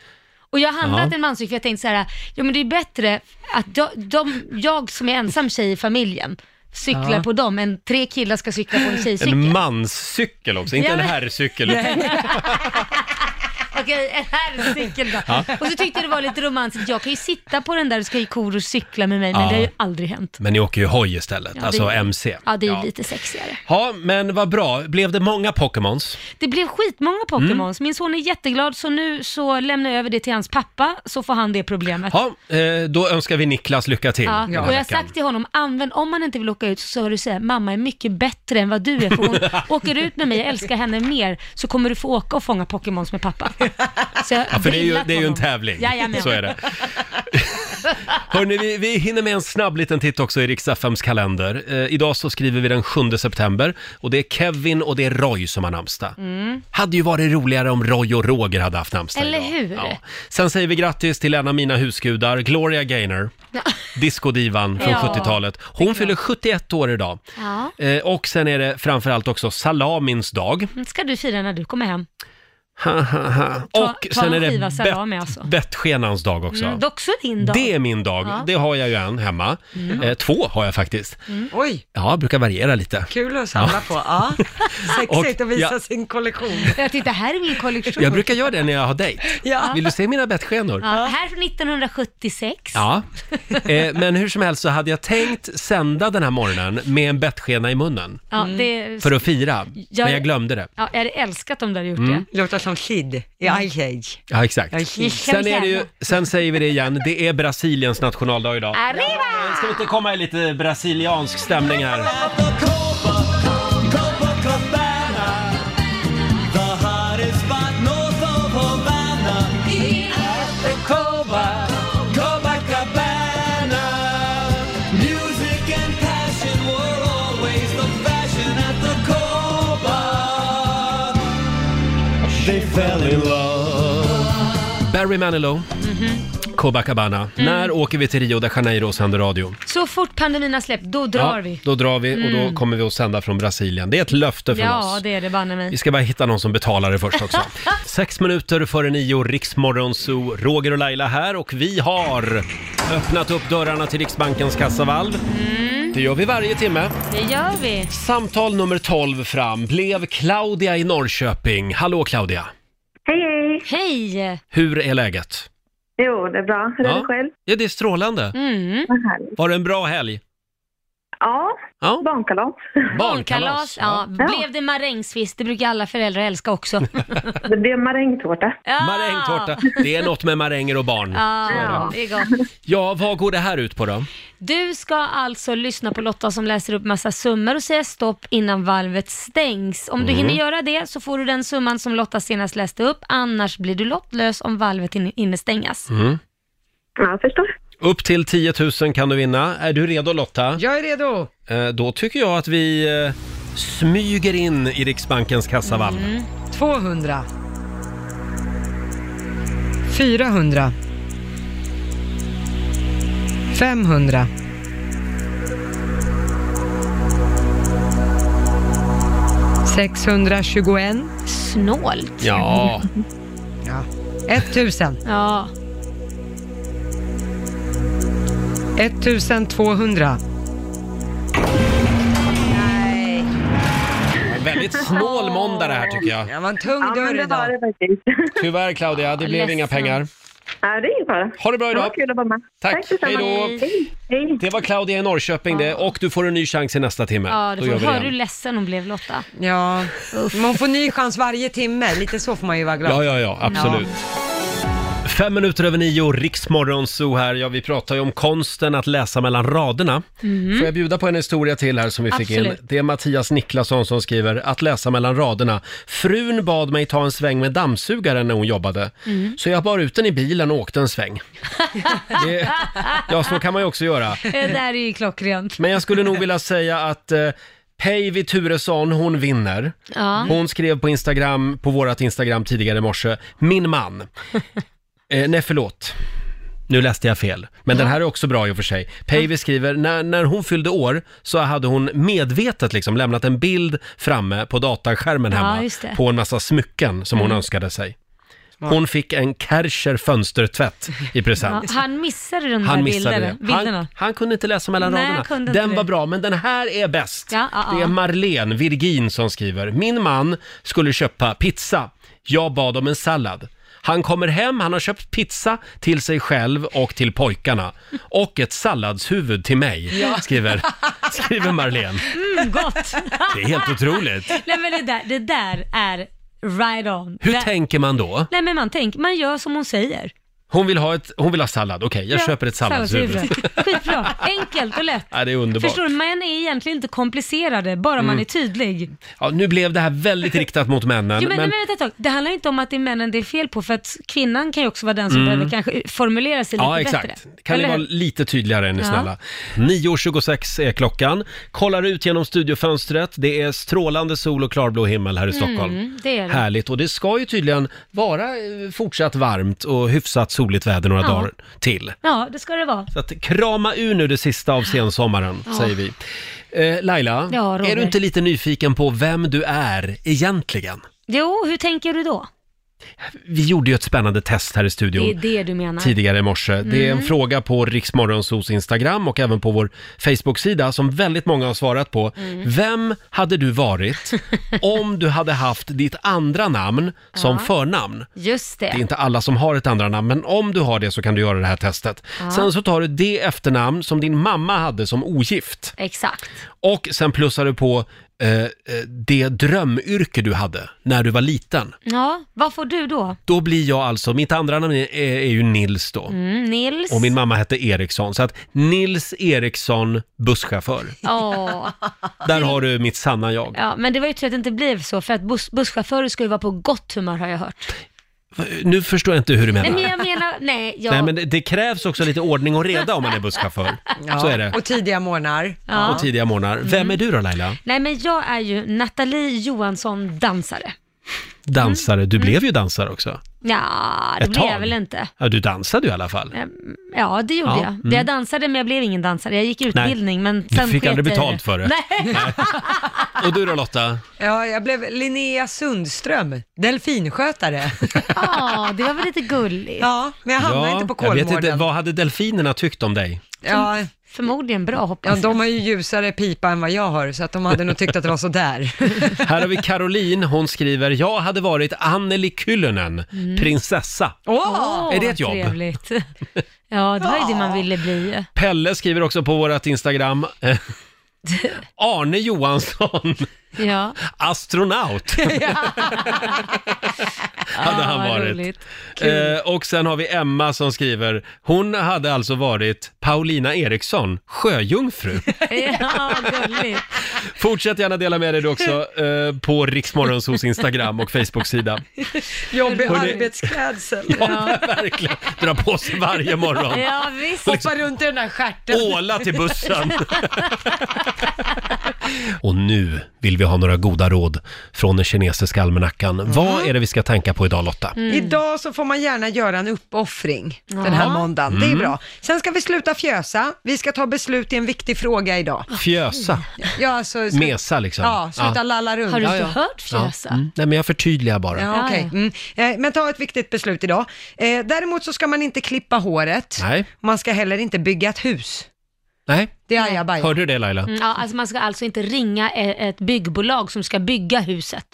Speaker 4: Och jag har handlat
Speaker 1: Jaha.
Speaker 4: en manscykel för jag tänkte så här, jo men det är bättre att de, de, jag som är ensam tjej i familjen cyklar på dem än tre killar ska cykla på en tjejcykel.
Speaker 1: En manscykel också, inte
Speaker 4: Ja,
Speaker 1: en
Speaker 4: men-
Speaker 1: herrcykel.
Speaker 4: Okej, en herrcykel då. Och så tyckte jag det var lite romantiskt, jag kan ju sitta på den där och ska ju koror cykla med mig, men
Speaker 1: Ja.
Speaker 4: det har ju aldrig hänt.
Speaker 1: Men ni åker ju hoj istället,
Speaker 4: Ja,
Speaker 1: alltså
Speaker 4: det är-
Speaker 1: MC.
Speaker 4: Ja, det är ju lite sexigare.
Speaker 1: Ja, men vad bra. Blev det många Pokémons?
Speaker 4: Det blev skitmånga
Speaker 1: Mm.
Speaker 4: Pokémons. Min son är jätteglad så nu så lämnar jag över det till hans pappa så får han det problemet.
Speaker 1: Ja, eh, då önskar vi Niklas lycka till.
Speaker 4: Ja,
Speaker 1: den här
Speaker 4: och jag har
Speaker 1: veckan.
Speaker 4: sagt till honom, använd, om man inte vill åka ut så ska du säga, mamma är mycket bättre än vad du är, för hon åker ut med mig, jag älskar henne mer, så kommer du få åka och fånga Pokémons med pappa. Så jag
Speaker 1: Ja, för det är ju,
Speaker 4: drillat
Speaker 1: det är ju en
Speaker 4: honom.
Speaker 1: tävling.
Speaker 4: Jajamän.
Speaker 1: Så är det. Hörrni, vi, vi hinner med en snabb liten titt också i Riks-FMs kalender. Eh, idag så skriver vi den 7 september och det är Kevin och det är Roy som har namnsdag. Hade ju varit roligare om Roy och Roger hade haft namnsdag
Speaker 4: Mm. Eller
Speaker 1: idag.
Speaker 4: hur?
Speaker 1: Sen säger vi grattis till en av mina husgudar, Gloria Gaynor. Discodivan från
Speaker 4: Ja,
Speaker 1: 70-talet. Hon fyller 71 år idag.
Speaker 4: Ja.
Speaker 1: Eh, och sen är det framförallt också salamins dag.
Speaker 4: ska du fira när du kommer hem.
Speaker 1: och
Speaker 4: ta
Speaker 1: sen är
Speaker 4: en skiva
Speaker 1: det
Speaker 4: salami,
Speaker 1: bett-
Speaker 4: alltså.
Speaker 1: bettskenans dag också.
Speaker 4: Mm, det är också din dag.
Speaker 1: Det är min dag.
Speaker 4: Ja.
Speaker 1: Det har jag ju en hemma. Eh, två har jag faktiskt.
Speaker 2: Oj,
Speaker 1: Ja, brukar variera lite.
Speaker 2: kul att samla på. Ja. Sexigt
Speaker 1: Och-
Speaker 2: att visa
Speaker 1: ja.
Speaker 2: sin kollektion.
Speaker 4: Jag tittar, här är min kollektion.
Speaker 1: Jag brukar göra det när jag har dejt.
Speaker 2: Ja.
Speaker 1: Vill du se mina bettskenor?
Speaker 4: ja, här från 1976.
Speaker 1: Ja, eh, men hur som helst så hade jag tänkt sända den här morgonen med en bettskena i munnen
Speaker 4: Ja, det,
Speaker 1: Mm. för Mm. att fira,
Speaker 4: Jag-
Speaker 1: men jag glömde det.
Speaker 4: ja, jag hade älskat om du hade gjort det.
Speaker 2: Låter som Kid i Ice Age.
Speaker 1: Ja, exakt.
Speaker 2: Jag är kid.
Speaker 1: Sen, är det ju, sen säger vi det igen, det är Brasiliens nationaldag idag.
Speaker 4: Arriba!
Speaker 1: Ska vi inte komma i lite brasiliansk stämning här?
Speaker 5: The Copa, Copacabana, the hottest spot north of Havana. At the Copa, Copacabana, music and passion were always the fashion at the Copa. They fell in love.
Speaker 4: Mhm.
Speaker 1: Barry Manilow.
Speaker 4: Mm.
Speaker 1: Copacabana. När åker vi till Rio de Janeiro och sänder radio?
Speaker 4: Så fort pandemin har släppt, då drar vi.
Speaker 1: Då drar vi och
Speaker 4: Mm.
Speaker 1: då kommer vi att sända från Brasilien. Det är ett löfte från
Speaker 4: Ja,
Speaker 1: oss.
Speaker 4: det är det banne mig.
Speaker 1: Vi ska bara hitta någon som betalar det först också. Sex minuter före nio, Riksmorgonzoo, Roger och Laila här och vi har öppnat upp dörrarna till Riksbankens kassavalv.
Speaker 4: Mm.
Speaker 1: Det gör vi varje timme.
Speaker 4: Det gör vi.
Speaker 1: Samtal nummer 12 fram blev Claudia i Norrköping. Hallå Claudia!
Speaker 7: Hej, hej!
Speaker 4: Hej!
Speaker 1: Hur är läget?
Speaker 7: Jo, det är bra. Hur är
Speaker 1: Ja.
Speaker 7: det själv?
Speaker 1: Ja, det är strålande.
Speaker 4: Mm.
Speaker 7: Vad härligt.
Speaker 1: Var det en bra helg?
Speaker 7: Ja,
Speaker 1: Ja.
Speaker 7: barnkalas.
Speaker 4: Barnkalas. Ja.
Speaker 7: Ja.
Speaker 4: Blev det marängsviss? Det brukar alla föräldrar älska också.
Speaker 7: Det blir marängtårta.
Speaker 4: Ja.
Speaker 1: Marängtårta. Det är något med maränger och barn.
Speaker 4: Ja, det är gott.
Speaker 1: Ja, vad går det här ut på då?
Speaker 4: Du ska alltså lyssna på Lotta som läser upp massa summor och säga stopp innan valvet stängs. Om du
Speaker 1: Mm.
Speaker 4: hinner göra det så får du den summan som Lotta senast läste upp, annars blir du lottlös om valvet hin- hinner stängas.
Speaker 1: Mm.
Speaker 7: Ja, jag förstår.
Speaker 1: Upp till 10 000 kan du vinna. Är du redo Lotta?
Speaker 2: Jag är redo.
Speaker 1: Eh, Då tycker jag att vi eh, smyger in i Riksbankens kassavalv.
Speaker 2: 200. 400. 500. 621.
Speaker 4: Snålt.
Speaker 1: Ja,
Speaker 2: Ja. 1000.
Speaker 4: Ja.
Speaker 2: 1200.
Speaker 1: väldigt snål måndag det här tycker jag.
Speaker 2: Det var en tung
Speaker 7: Ja, men
Speaker 2: dörr
Speaker 7: det var
Speaker 2: idag.
Speaker 7: det faktiskt.
Speaker 1: Tyvärr Claudia, det blev
Speaker 4: ledsen.
Speaker 1: inga pengar.
Speaker 7: Ja, det är ingen fara.
Speaker 1: Ha det bra
Speaker 7: Det var
Speaker 1: idag!
Speaker 7: kul att vara med.
Speaker 1: Tack. Hej
Speaker 7: detsamma.
Speaker 1: då.
Speaker 7: Hej. Hej.
Speaker 1: Det var Claudia i Norrköping det och du får en ny chans i nästa timme.
Speaker 4: Ja, det
Speaker 1: Då gör
Speaker 4: får,
Speaker 1: vi
Speaker 4: hör
Speaker 1: det
Speaker 4: du hur
Speaker 1: igen.
Speaker 4: ledsen hon blev Lotta?
Speaker 2: Ja, man får ny chans varje timme. Lite så får man ju vara glad.
Speaker 1: Ja, ja, ja, absolut. Fem minuter över nio, Riksmorgon Zoo här. Ja, vi pratar ju om konsten att läsa mellan raderna. Får jag bjuda på en historia till här som vi fick
Speaker 4: Absolut.
Speaker 1: in? Det är Mattias Niklasson som skriver att läsa mellan raderna. Frun bad mig ta en sväng med dammsugaren när hon jobbade. Så jag bar ut den i bilen och åkte en sväng. det, ja, så kan man ju också göra.
Speaker 4: Det där är ju klockrent.
Speaker 1: Men jag skulle nog vilja säga att eh, Päivi Turesson, hon vinner.
Speaker 4: Ja.
Speaker 1: Hon skrev på Instagram, på vårat Instagram tidigare i morse, min man. Eh, nej, förlåt. Nu läste jag fel, men den här är också bra i och för sig. Päivi skriver, när, när hon fyllde år så hade hon medvetet liksom lämnat en bild framme på dataskärmen
Speaker 4: Ja,
Speaker 1: hemma
Speaker 4: just det. Mm.
Speaker 1: på en massa smycken som hon önskade sig. Hon fick en Kärcher fönstertvätt i
Speaker 4: Ja,
Speaker 1: present.
Speaker 4: han missade de där
Speaker 1: Han missade
Speaker 4: bilderna.
Speaker 1: det. Han,
Speaker 4: bilderna.
Speaker 1: han kunde inte läsa mellan
Speaker 4: Nej, kunde
Speaker 1: raderna.
Speaker 4: inte
Speaker 1: Den
Speaker 4: det.
Speaker 1: var bra, men den här är bäst.
Speaker 4: Ja, ja, ja.
Speaker 1: Det är Marlene Virgin som skriver. Min man skulle köpa pizza. Jag bad om en sallad. Han kommer hem, han har köpt pizza till sig själv och till pojkarna. Och ett salladshuvud till mig, skriver, skriver Marlene.
Speaker 4: Mm, gott!
Speaker 1: Det är helt otroligt.
Speaker 4: Nej men det där, det där är right on.
Speaker 1: Hur
Speaker 4: det,
Speaker 1: tänker man då?
Speaker 4: Nej men man tänker, man gör som hon säger.
Speaker 1: Hon vill ha, ett, hon vill ha sallad, okej, jag
Speaker 4: Ja,
Speaker 1: köper ett salladshuvud.
Speaker 4: salladshuvud. Skitbra, enkelt och lätt.
Speaker 1: Ja, det är underbart. Mm.
Speaker 4: Förstår du, män är egentligen inte komplicerade, bara man är tydlig.
Speaker 1: Ja, nu blev det här väldigt riktat mot männen.
Speaker 4: Jo, men,
Speaker 1: men-
Speaker 4: men, vänta ett tag. Det handlar inte om att det är männen det är fel på, för att kvinnan kan ju också vara den som behöver kanske formulera sig
Speaker 1: Mm. Ja,
Speaker 4: lite
Speaker 1: exakt.
Speaker 4: bättre.
Speaker 1: Kan ni
Speaker 4: Eller
Speaker 1: vara
Speaker 4: hur?
Speaker 1: lite tydligare är ni
Speaker 4: Ja.
Speaker 1: snälla? 9.26 är klockan. Kollar ut genom studiofönstret. Det är strålande sol och klarblå himmel här i Stockholm.
Speaker 4: Mm, det är det.
Speaker 1: Härligt. Och det ska ju tydligen vara eh, fortsatt varmt och hyfsat soligt väder några
Speaker 4: Ja.
Speaker 1: dagar till.
Speaker 4: Ja, det ska det vara.
Speaker 1: Så att krama ur nu det sista av sensommaren, säger vi. Eh, Laila,
Speaker 4: Ja, Roger.
Speaker 1: är du inte lite nyfiken på vem du är egentligen?
Speaker 4: Jo, hur tänker du då?
Speaker 1: Vi gjorde ju ett spännande test här i
Speaker 4: Det
Speaker 1: studion.
Speaker 4: är det du menar.
Speaker 1: tidigare i morse. Det är en fråga på Riksmorgonsos Instagram och även på vår Facebook-sida som väldigt många har svarat på. Vem hade du varit om du hade haft ditt andra namn som förnamn?
Speaker 4: Just
Speaker 1: Det är
Speaker 4: det.
Speaker 1: inte alla som har ett andra namn, men om du har det så kan du göra det här testet. Sen så tar du det efternamn som din mamma hade som ogift
Speaker 4: Exakt.
Speaker 1: och sen plussar du på eh, eh, det drömyrke du hade när du var liten.
Speaker 4: Ja, vad får du då?
Speaker 1: Då blir jag alltså, mitt andra namn är, är ju Nils då.
Speaker 4: Mm, Nils?
Speaker 1: Och min mamma hette Eriksson, så att Nils Eriksson, busschaufför.
Speaker 4: Åh.
Speaker 1: Där har du mitt sanna jag.
Speaker 4: Ja, men det var ju tur att det inte blev så, för att buss, busschaufförer ska ju vara på gott humör har jag hört.
Speaker 1: Nu förstår jag inte hur du menar.
Speaker 4: Nej, men jag menar, nej, jag,
Speaker 1: Nej, men det- det krävs också lite ordning och reda om man är busschaufför.
Speaker 2: Ja,
Speaker 1: Så är det.
Speaker 2: Och tidiga morgnar.
Speaker 1: Och tidiga
Speaker 4: Mm.
Speaker 1: morgnar. Vem är du då Laila?
Speaker 4: nej, men jag är ju Nathalie Johansson dansare.
Speaker 1: dansare. Du blev ju dansare också.
Speaker 4: Ja, Mm. det
Speaker 1: Ett
Speaker 4: blev jag
Speaker 1: tag.
Speaker 4: väl inte.
Speaker 1: Ja, du dansade ju i alla fall.
Speaker 4: Ehm, Ja, det gjorde
Speaker 1: Ja,
Speaker 4: jag.
Speaker 1: mm.
Speaker 4: Jag dansade men jag blev ingen dansare. Jag gick utbildning men
Speaker 1: Du
Speaker 4: sen
Speaker 1: fick
Speaker 4: sket
Speaker 1: aldrig
Speaker 4: jag i
Speaker 1: betalt för det.
Speaker 4: Nej.
Speaker 1: Och du då Lotta?
Speaker 2: Ja, jag blev Linnea Sundström, delfinskötare.
Speaker 4: Ja, det var väl lite gulligt.
Speaker 2: Ja, men jag hamnade inte på
Speaker 1: jag vet inte,
Speaker 2: Kolmården.
Speaker 1: vad hade delfinerna tyckt om dig?
Speaker 2: Ja,
Speaker 4: Förmodligen bra
Speaker 2: ja,
Speaker 4: hoppas jag.
Speaker 2: de har ju ljusare pipa än vad jag har, så att de hade nog tyckt att det var sådär.
Speaker 1: Här har vi Caroline, hon skriver “Jag hade varit Anneli Kyllönen,
Speaker 4: Mm.
Speaker 1: prinsessa”.
Speaker 2: Åh!
Speaker 1: Är det ett jobb?
Speaker 4: Trevligt. Ja, det var ju det man ville bli.
Speaker 1: Pelle skriver också på vårt Instagram eh, Arne Johansson,
Speaker 4: Ja.
Speaker 1: astronaut, hade han
Speaker 4: vad
Speaker 1: varit.
Speaker 4: roligt.
Speaker 1: Eh, och sen har vi Emma som skriver, hon hade alltså varit Paulina Eriksson, sjöjungfru.
Speaker 4: Ja, gulligt.
Speaker 1: Fortsätt gärna dela med dig du också eh, på Riksmorgonsos Instagram och Facebook-sida.
Speaker 2: Jobbig
Speaker 1: Hörni-
Speaker 2: arbetsklädsel.
Speaker 1: Ja, verkligen. Dra på sig varje morgon.
Speaker 4: Ja, visst.
Speaker 1: Liksom.
Speaker 2: Hoppa runt i den här stjärten.
Speaker 1: Åla till bussen! Och nu vill vi ha några goda råd från den kinesiska almanackan.
Speaker 4: Mm.
Speaker 1: Vad är det vi ska tänka på idag Lotta?
Speaker 2: Mm. Idag så får man gärna göra en uppoffring den här måndagen. Det
Speaker 1: Mm.
Speaker 2: är bra. Sen ska vi sluta fjösa. Vi ska ta beslut i en viktig fråga idag.
Speaker 1: Fjösa,
Speaker 4: Mm,
Speaker 2: Ja, alltså, slu-
Speaker 1: mesa liksom.
Speaker 2: Ja, sluta lalla runt.
Speaker 4: Har du
Speaker 2: ja,
Speaker 4: inte
Speaker 2: ja.
Speaker 4: hört
Speaker 1: Ja.
Speaker 4: fjösa?
Speaker 1: Mm. Nej men jag förtydligar bara.
Speaker 2: Ja, okej. mm. eh, men ta ett viktigt beslut idag. Eh, däremot så ska man inte klippa håret.
Speaker 1: Nej.
Speaker 2: Man ska heller inte bygga ett hus.
Speaker 1: Nej,
Speaker 2: Det är ajabaja.
Speaker 1: hörde du det Laila?
Speaker 4: Mm, Ja, alltså man ska alltså inte ringa e- ett byggbolag som ska bygga huset.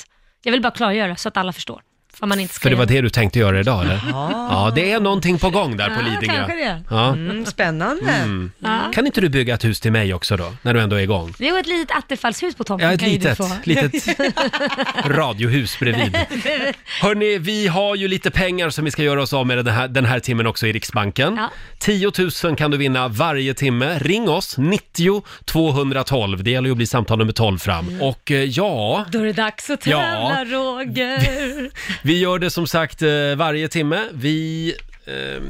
Speaker 4: Jag vill bara klargöra så att alla förstår. Vad man inte ska
Speaker 1: För det var
Speaker 4: göra.
Speaker 1: det du tänkte göra idag eller? Ja, det är någonting på gång där på
Speaker 4: Ja,
Speaker 1: Lidingö.
Speaker 4: kanske det.
Speaker 1: Ja.
Speaker 2: Mm, spännande.
Speaker 4: Ja.
Speaker 1: Kan inte du bygga ett hus till mig också då, när du ändå är igång?
Speaker 4: Det är ju ett litet attefallshus på tomten.
Speaker 1: Ja, ett
Speaker 4: kan ju du
Speaker 1: litet,
Speaker 4: få.
Speaker 1: litet radiohus bredvid. Hörni, vi har ju lite pengar som vi ska göra oss av med den här, den här timmen också i Riksbanken.
Speaker 4: Ja.
Speaker 1: 10 000 kan du vinna varje timme. Ring oss, 90 212. Det gäller ju att bli samtal nummer 12 fram. Och eh, ja,
Speaker 4: Då är det dags att
Speaker 1: Ja.
Speaker 4: tävla, Roger.
Speaker 1: vi gör det som sagt eh, varje timme. Vi eh,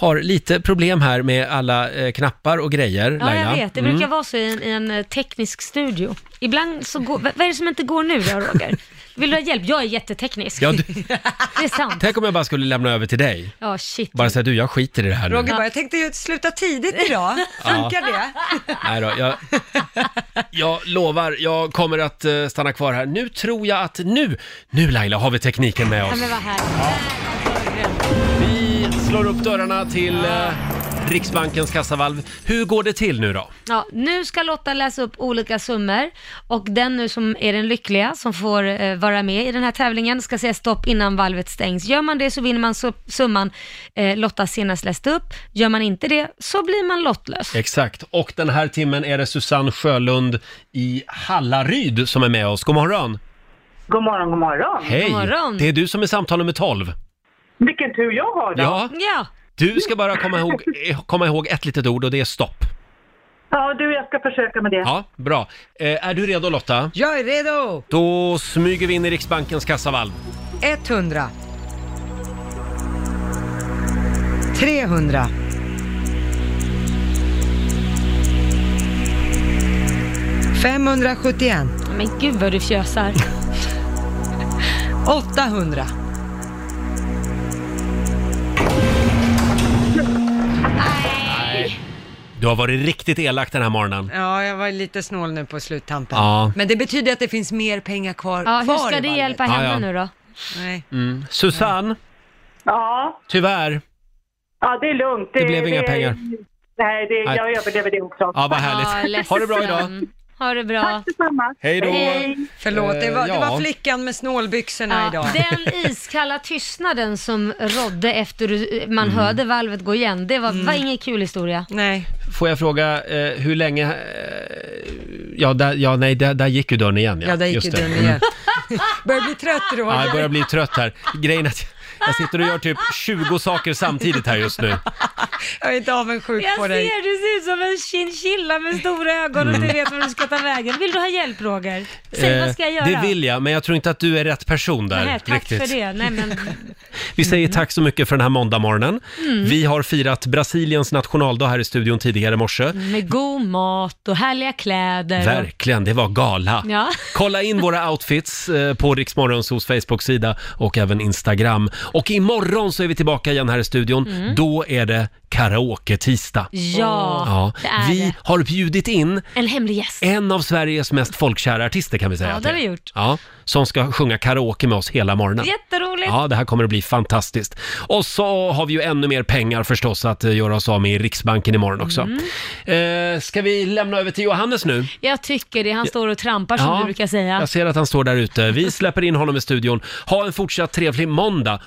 Speaker 1: har lite problem här med alla eh, knappar och grejer,
Speaker 4: Ja,
Speaker 1: Laila. Mm.
Speaker 4: jag vet. Det brukar vara så i en, i en eh, teknisk studio. Ibland så går... Vad vad är det som inte går nu då, Roger? Vill du ha hjälp? Jag är jätteteknisk.
Speaker 1: Ja, du,
Speaker 4: Det är sant.
Speaker 1: tänk om jag bara skulle lämna över till dig.
Speaker 4: Ja, shit.
Speaker 1: Bara säga du, jag skiter i det här nu.
Speaker 2: Roger bara, jag tänkte ju sluta tidigt idag. Funkar det?
Speaker 1: Nej då, jag, jag lovar, jag kommer att eh, stanna kvar här. Nu tror jag att nu, nu Laila har vi tekniken med
Speaker 4: Ja,
Speaker 1: oss.
Speaker 4: men vad här.
Speaker 1: Vi slår upp dörrarna till eh, Riksbankens kassavalv. Hur går det till nu då?
Speaker 4: Ja, nu ska Lotta läsa upp olika summor och den nu som är den lyckliga som får eh, vara med i den här tävlingen ska säga stopp innan valvet stängs. Gör man det så vinner man su- summan eh, Lotta senast läste upp. Gör man inte det så blir man lottlös.
Speaker 1: Exakt, och den här timmen är det Susanne Sjölund i Hallaryd som är med oss. God morgon!
Speaker 7: God morgon, god morgon.
Speaker 1: Hej!
Speaker 4: God morgon.
Speaker 1: Det är du som är samtal nummer 12.
Speaker 7: Vilken tur jag har då.
Speaker 1: Ja,
Speaker 4: Ja,
Speaker 1: du ska bara komma ihåg, eh, komma ihåg ett litet ord och det är stopp.
Speaker 7: Ja, du, jag ska försöka med det.
Speaker 1: Ja, bra. Eh, är du redo Lotta?
Speaker 2: Jag är redo.
Speaker 1: Då smyger vi in i Riksbankens kassavalv.
Speaker 2: 100. 300. 571.
Speaker 4: men gud vad du fjösar.
Speaker 2: 800.
Speaker 1: Du har varit riktigt elak den här morgonen.
Speaker 2: Ja, jag var lite snål nu på sluttampen.
Speaker 1: Ja.
Speaker 2: Men det betyder att det finns mer pengar kvar
Speaker 4: Ja, hur
Speaker 2: kvar i
Speaker 4: ska det
Speaker 2: valvet.
Speaker 4: hjälpa
Speaker 1: Ja,
Speaker 4: henne
Speaker 1: ja.
Speaker 4: nu då?
Speaker 2: Nej.
Speaker 1: Mm. Susanne,
Speaker 7: Ja,
Speaker 1: tyvärr.
Speaker 7: ja det är lugnt.
Speaker 1: Det blev inga pengar.
Speaker 7: Nej, det,
Speaker 1: Nej.
Speaker 7: jag överlever det också.
Speaker 1: Ja, vad
Speaker 4: Ja,
Speaker 1: härligt.
Speaker 4: ledsen.
Speaker 1: Ha det bra idag.
Speaker 4: Ha det bra.
Speaker 7: Detsamma.
Speaker 1: Hej då.
Speaker 2: Förlåt, det var, det
Speaker 1: Eh, ja.
Speaker 2: var flickan med snålbyxorna
Speaker 4: Ja,
Speaker 2: idag.
Speaker 4: den iskalla tystnaden som rådde efter du- man
Speaker 1: Mm.
Speaker 4: hörde valvet gå igen, det var, var ingen kul historia.
Speaker 2: Nej.
Speaker 1: Får jag fråga, eh, hur länge... Eh, ja, där, ja, nej, där, där gick ju dörren igen.
Speaker 2: Ja, där gick
Speaker 1: Just
Speaker 2: ju den
Speaker 1: Mm.
Speaker 2: igen. Börjar bli trött
Speaker 1: Ja,
Speaker 2: Roger.
Speaker 1: jag börjar bli trött här. Grejen är att Jag sitter och gör typ 20 saker samtidigt här just nu.
Speaker 2: Jag är inte avundsjuk
Speaker 4: Jag
Speaker 2: på dig.
Speaker 4: ser, du ser ut som en chinchilla med stora ögon och
Speaker 1: Mm.
Speaker 4: inte vet var du ska ta vägen. Vill du ha hjälp Roger? Säg vad ska jag
Speaker 1: Eh,
Speaker 4: göra?
Speaker 1: Det vill jag, men jag tror inte att du är rätt person där.
Speaker 4: Nej, tack
Speaker 1: riktigt.
Speaker 4: för det. Mm. Nej, men,
Speaker 1: Vi säger tack så mycket för den här måndagmorgonen.
Speaker 4: Mm.
Speaker 1: Vi har firat Brasiliens nationaldag här i studion tidigare i morse.
Speaker 4: med god mat och härliga kläder. och-
Speaker 1: Verkligen, det var gala.
Speaker 4: Ja.
Speaker 1: Kolla in våra outfits eh, på Riksmorgonsos Facebook-sida och även Instagram. Och imorgon så är vi tillbaka igen här i studion. Då är det karaoke-tisdag.
Speaker 4: Mm. Ja,
Speaker 1: Ja,
Speaker 4: det är
Speaker 1: vi
Speaker 4: det.
Speaker 1: har bjudit in
Speaker 4: En hemlig gäst.
Speaker 1: en av Sveriges mest folkkära artister kan vi säga.
Speaker 4: Ja,
Speaker 1: att
Speaker 4: det har
Speaker 1: är.
Speaker 4: vi gjort.
Speaker 1: Ja, som ska sjunga karaoke med oss hela morgonen.
Speaker 4: Jätteroligt.
Speaker 1: Ja, det här kommer att bli fantastiskt. Och så har vi ju ännu mer pengar förstås att eh, göra oss av med i Riksbanken imorgon också.
Speaker 4: Mm.
Speaker 1: Eh, ska vi lämna över till Johannes nu?
Speaker 4: Jag tycker det. Han står och trampar som du brukar säga.
Speaker 1: Jag ser att han står där ute. Vi släpper in honom i studion. Ha en fortsatt trevlig måndag